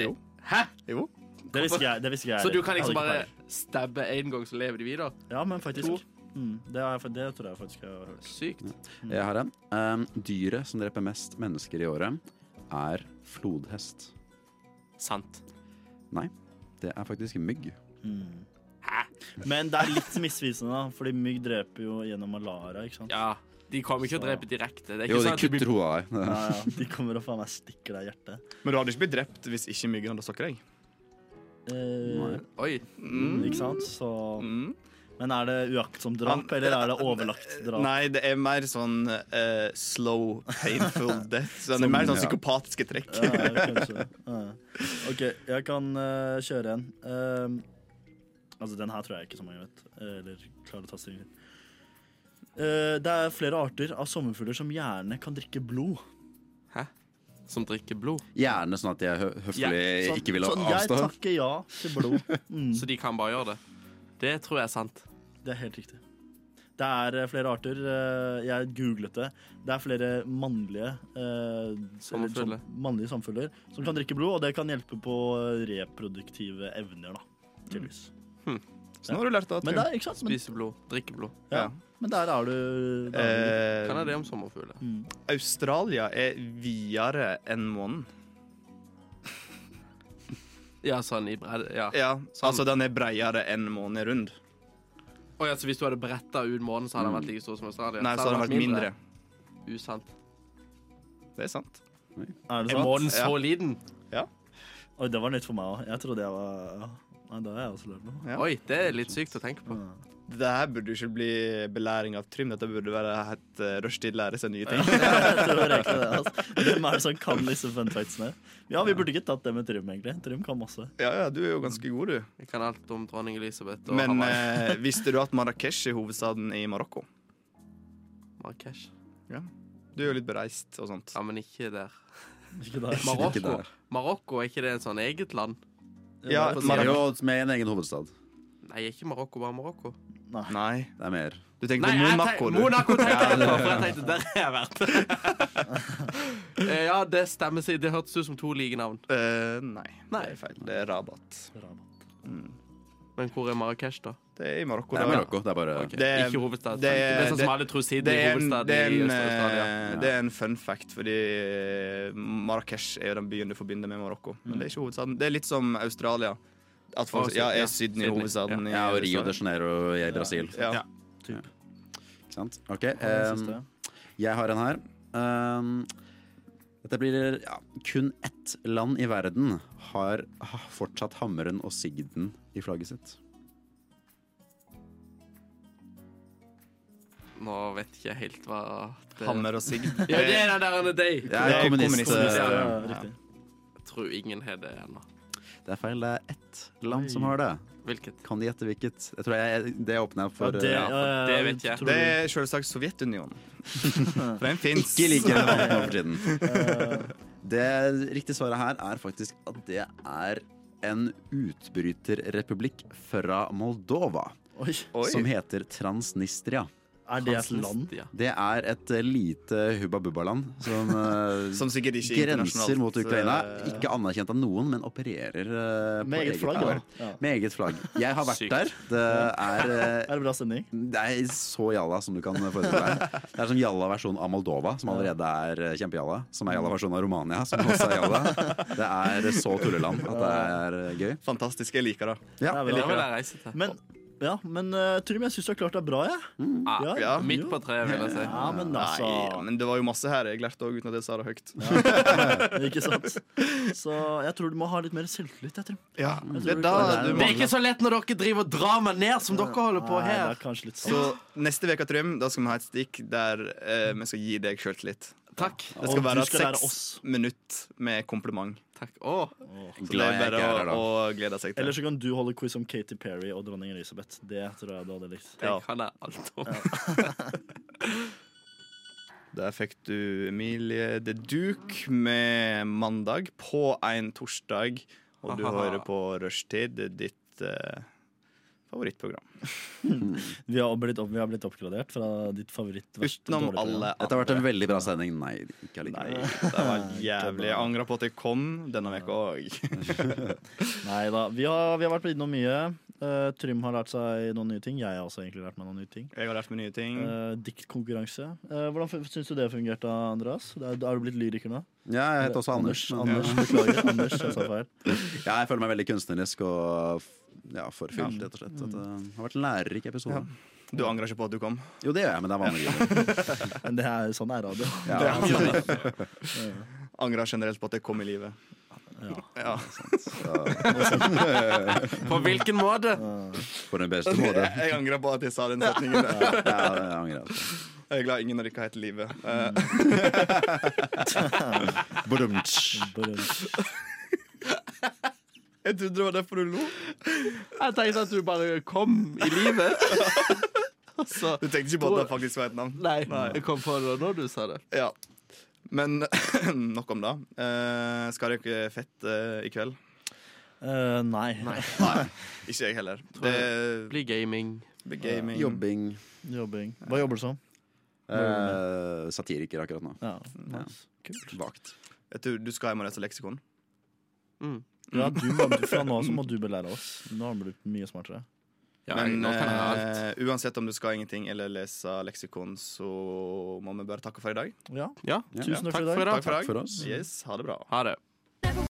S6: Det, hæ?
S3: Jo.
S4: Det visste ikke jeg. Det visste ikke jeg
S6: Så du
S4: heller.
S6: kan liksom
S4: Jeg hadde ikke
S6: bare stabbe én gang, så lever de videre?
S4: Ja, men
S6: To.
S4: faktisk. Mm, det, er, det tror jeg faktisk jeg har hørt.
S6: Sykt.
S4: Mm.
S5: Jeg har en. Um, dyret som dreper mest mennesker i året, er flodhest.
S6: Sant.
S5: Nei, det er faktisk mygg.
S4: Men det er litt misvisende, da, fordi mygg dreper jo gjennom malaria, ikke sant?
S6: Ja. De kommer ikke til å drepe direkte. Det er ikke
S5: Jo, de
S6: sånn at du
S5: kutter
S6: blir
S5: hodet <laughs> av deg.
S4: Ja, ja. De kommer og faen meg stikker deg i hjertet.
S3: Men du hadde ikke blitt drept hvis ikke myggen hadde stukket deg.
S4: Eh,
S6: Oi.
S4: Ikke sant? Så
S6: Mm.
S4: Men er det uaktsomt drap, eller er det overlagt drap?
S3: Nei, det er mer sånn eh, slow, painful death. Så det er
S5: Som-
S3: mer sånn
S5: ja.
S3: psykopatiske trekk.
S4: Ja, kanskje. Ja. OK, jeg kan eh, kjøre en. Eh, altså, den her tror jeg ikke så mange vet. Eller klarer å ta stilling til. Eh, det er flere arter av sommerfugler som gjerne kan drikke blod.
S6: Som drikker blod.
S5: Gjerne sånn at jeg hø høflig
S4: Sånn-
S5: Eh, ikke vil
S4: sånn,
S5: avstå.
S4: Jeg takker ja til blod.
S6: Så de kan bare gjøre det. Det tror jeg er sant.
S4: Det er helt riktig. Det er eh, flere arter. eh, Jeg googlet det. Det er flere mannlige eh, eller
S6: Sommerfugler.
S4: som- Mannlige sommerfugler som kan drikke blod, og det kan hjelpe på eh, reproduktive evner, da. Tydeligvis.
S3: Så nå har du lært det.
S4: Men
S3: Trym.
S4: der, ikke sant? Men,
S6: Spise blod, drikke blod.
S4: ja. men der er du der er du.
S3: Eh,
S6: Kan jeg det om sommerfugler?
S4: Mm.
S3: Australia er videre enn månen.
S6: Ja, sånn i bred... Ja.
S3: Ja, Altså, den er bredere enn månen er rund.
S6: Oi, altså, hvis du hadde bretta ut månen, så hadde den vært like stor som Australia?
S3: Mm. Nei, så hadde den vært mindre.
S6: Usant.
S3: Det er sant.
S4: Er det
S6: Er månen
S4: sant?
S6: så
S3: Ja.
S6: liten?
S4: Oi, det var nytt for meg òg. Jeg trodde jeg var ja. Nei, da har jeg også lært noe.
S3: Ja.
S6: Oi, det er litt sykt å tenke på.
S3: Det her burde jo ikke bli belæring av Trym. Dette burde være et uh, rushtid lære seg nye ting.
S4: Jeg tror egentlig det, altså. Hvem er det som kan disse fun factsene? Ja, vi burde ikke tatt det med Trym, egentlig. Trym kan masse.
S3: <laughs> Ja, ja, du er jo ganske god, du.
S6: Jeg kan alt om dronning Elisabeth og
S3: Men
S6: Hawaii.
S3: eh, visste du at Marrakech er hovedstaden i Marokko?
S6: Marrakech.
S3: Du er jo litt bereist og sånt.
S6: Ja, men ikke
S3: <laughs>
S6: der.
S4: Ikke det?
S5: Ikke
S6: Marokko,
S5: der.
S6: Marokko er ikke det et sånn eget land?
S3: Ja,
S5: Det er
S3: Marrakech.
S5: jo med en egen hovedstad.
S6: Nei, er ikke Marokko bare Marokko?
S3: Nei.
S5: Det er mer.
S3: Du tenker
S6: Nei,
S3: på
S6: jeg
S3: Monaco,
S6: tenk-
S3: du.
S6: Monaco tenkte jeg på, for jeg tenkte der har jeg vært.
S3: <laughs>
S6: Eh, ja, det stemmer. seg. Det hørtes ut som to like navn.
S3: Eh, nei, det
S6: Nei.
S3: er feil. Det er Rabat.
S6: Men hvor er Marrakech, da?
S3: Det er i Marokko.
S5: Det er
S3: da.
S5: Marokko. Det er bare
S6: Ok,
S3: Det er-
S6: ikke
S3: det
S6: hovedstad. Det,
S3: er-
S6: er sånn
S3: det-
S6: som alle tror Sydney
S3: Det
S6: er
S3: er en,
S6: hovedstad
S3: det er
S6: i
S3: en,
S6: Øst-Australia.
S3: eh, det er en fun fact, fordi eh, Marrakech er jo den byen du forbinder med Marokko. Men det er ikke hovedstaden. Det er litt som Australia. At folk,
S6: Å,
S3: ja,
S6: ja,
S3: er Sydney
S6: Sydney,
S3: hovedstaden
S5: Ja, og
S3: i
S5: Rio de
S3: USA?
S5: Janeiro i Brasil.
S3: Ja.
S6: Ja.
S5: Ikke sant? Ok, ehm, jeg har en her. Ehm, dette blir ja, Kun ett land i verden har ha, fortsatt hammeren og sigden i flagget sitt.
S6: Nå vet ikke jeg helt hva det
S3: Hammer og
S5: <laughs>
S3: sigd.
S6: Ja, det er den der andre day.
S5: Det er kommunist.
S3: kommunist,
S4: Ja,
S3: ja.
S4: riktig.
S6: Jeg tror ingen har det ennå.
S5: Det er feil. Det er ett land som har det.
S6: Hvilket?
S5: Kan de gjette hvilket? Jeg tror jeg, det åpner jeg opp
S4: Ja,
S5: for.
S4: det,
S5: eh,
S6: ja, for det vet jeg.
S4: tror
S3: Det
S4: du-
S3: er selvsagt Sovjetunionen.
S5: <laughs>
S3: For den fins.
S5: Ikke like relevant nå for tiden.
S4: <laughs> Eh.
S5: Det riktige svaret her er faktisk at det er en utbryterrepublikk fra Moldova
S4: Oi.
S3: Oi.
S5: som heter Transnistria.
S4: Er det et land?
S5: Det er et eh, lite Hubba Bubba-land som,
S4: <laughs>
S5: eh,
S3: Som sikkert ikke er internasjonalt,
S5: grenser mot Ukraina.
S3: eh,
S5: Ikke anerkjent av noen, men opererer eh, på
S4: Med eget
S5: eget
S4: flagg,
S5: ansvar.
S4: da. Ja.
S5: Med eget flagg. Jeg har vært
S4: Sykt.
S5: der. Det er eh,
S4: Er det bra stemning?
S5: det er så jalla som du kan forestille
S3: <laughs>
S5: deg. Det er som jalla-versjon av Moldova, som allerede er eh, kjempejalla. Som er jalla-versjonen av Romania, som også er jalla. Det er så tulleland at det er eh, gøy.
S3: Fantastisk. Jeg liker det.
S5: Ja,
S6: Jeg liker det. reise til.
S4: Men, ja, men eh, Trym, jeg syns du har klart deg bra, jeg.
S6: Ja,
S3: ja.
S6: Ah, Midt på treet, vil jeg si.
S4: Ja, men altså
S3: Nei, ja, men det var jo masse her jeg lærte òg, uten at jeg sa det høyt. <laughs>
S4: Ikke sant? Så jeg tror du må ha litt mer selvtillit, jeg, Trym.
S3: Ja,
S4: Jeg
S3: det er
S4: tror du
S3: da
S4: klarer
S3: du
S6: Det er ikke så lett når dere driver og drar meg ned som dere holder på
S4: Nei, det
S6: her.
S4: er kanskje litt
S3: Så
S4: sånn.
S3: neste uke, Trym, da skal vi ha et stikk der eh, vi skal gi deg sjøltillit.
S6: Takk.
S3: Det
S4: Og
S3: skal
S4: du
S3: være
S4: skal lære
S3: seks
S4: oss.
S3: minutt med kompliment.
S6: Takk. Å,
S3: Så det er bare å, å glede seg til.
S4: Eller så kan du holde quiz om Katy Perry og dronning Elisabeth. Det tror jeg du hadde likt.
S3: Ja.
S6: det kan jeg alt om.
S3: Der fikk du Emilie The Duke med mandag på en torsdag. Og du
S6: Ahaha.
S3: hører på Rushtid, ditt eh, favorittprogram.
S4: Vi har blitt, opp, vi har blitt oppgradert fra ditt favoritt verst
S3: Utenom
S4: dårlige program.
S3: alle
S5: Dette har
S3: <laughs>
S5: vært en veldig bra sending. Nei, ikke
S3: Nei,
S5: allikevel.
S3: det var jævlig. Jeg angrer på at jeg kom denne veka òg.
S4: Nei da. Vi har, vi har vært innom mye. Eh, Trym har lært seg noen nye ting. Jeg har også egentlig lært meg noen nye ting.
S3: Jeg har lært meg nye ting.
S4: Eh, diktkonkurranse. Eh, hvordan f- syns du det fungerte, Andreas? Det Er, er du blitt lyriker nå?
S5: Ja, jeg heter også Anders. men-
S4: Anders, Beklager. Anders, jeg sa feil.
S5: Ja, jeg føler meg veldig kunstnerisk og ja, forfylt, rett og slett. At eh, det har vært en lærerik episode.
S3: Du angrer ikke på at du kom?
S5: Jo, det gjør jeg, men det er vanlig. grunner.
S3: <laughs>
S4: Men det er sånn er radio.
S5: Ja.
S3: Angrer generelt på at jeg kom i livet.
S4: Ja.
S3: Ja.
S6: På hvilken måte?
S5: På den beste
S3: Jeg,
S5: måte.
S3: <laughs> jeg angrer på at jeg sa den setningen der.
S5: Ja, det angrer jeg på.
S3: Jeg er glad ingen av dere heter Live. Eh,
S5: Badumtsch.
S4: Bare-
S3: jeg trodde det var derfor du lo.
S6: Jeg tenkte at du bare kom i livet. Og så
S3: Du tenkte ikke på at det faktisk var et navn?
S6: Nei, jeg kom på det når du sa det.
S3: Ja. Men <clears throat> nok om det. Eh, skal dere fett eh, i kveld?
S4: Eh, nei.
S3: Ikke jeg heller.
S6: Tror Det
S3: Det
S6: blir eh, gaming.
S3: blir gaming.
S5: Jobbing.
S4: Jobbing. Hva jobber du som?
S5: Eh, satiriker akkurat nå.
S4: Ja,
S5: Ja.
S4: nice. Kult.
S5: Vakt.
S3: Jeg tror du skal hjem og lese leksikon.
S6: Mm.
S4: Ja, du må, du- fra nå av så må du belære oss. Nå har du blitt mye smartere.
S6: Ja,
S3: Men
S6: nå kan jeg
S3: eh,
S6: alt.
S3: uansett om du skal ingenting eller lese leksikon, så må vi bare takke for i dag.
S4: Ja,
S6: Ja.
S4: tusen takk for
S6: Takk
S4: i dag.
S6: for i dag.
S3: Takk for i dag.
S6: Mm.
S5: for oss.
S3: Yes, ha det bra.
S6: Ha det.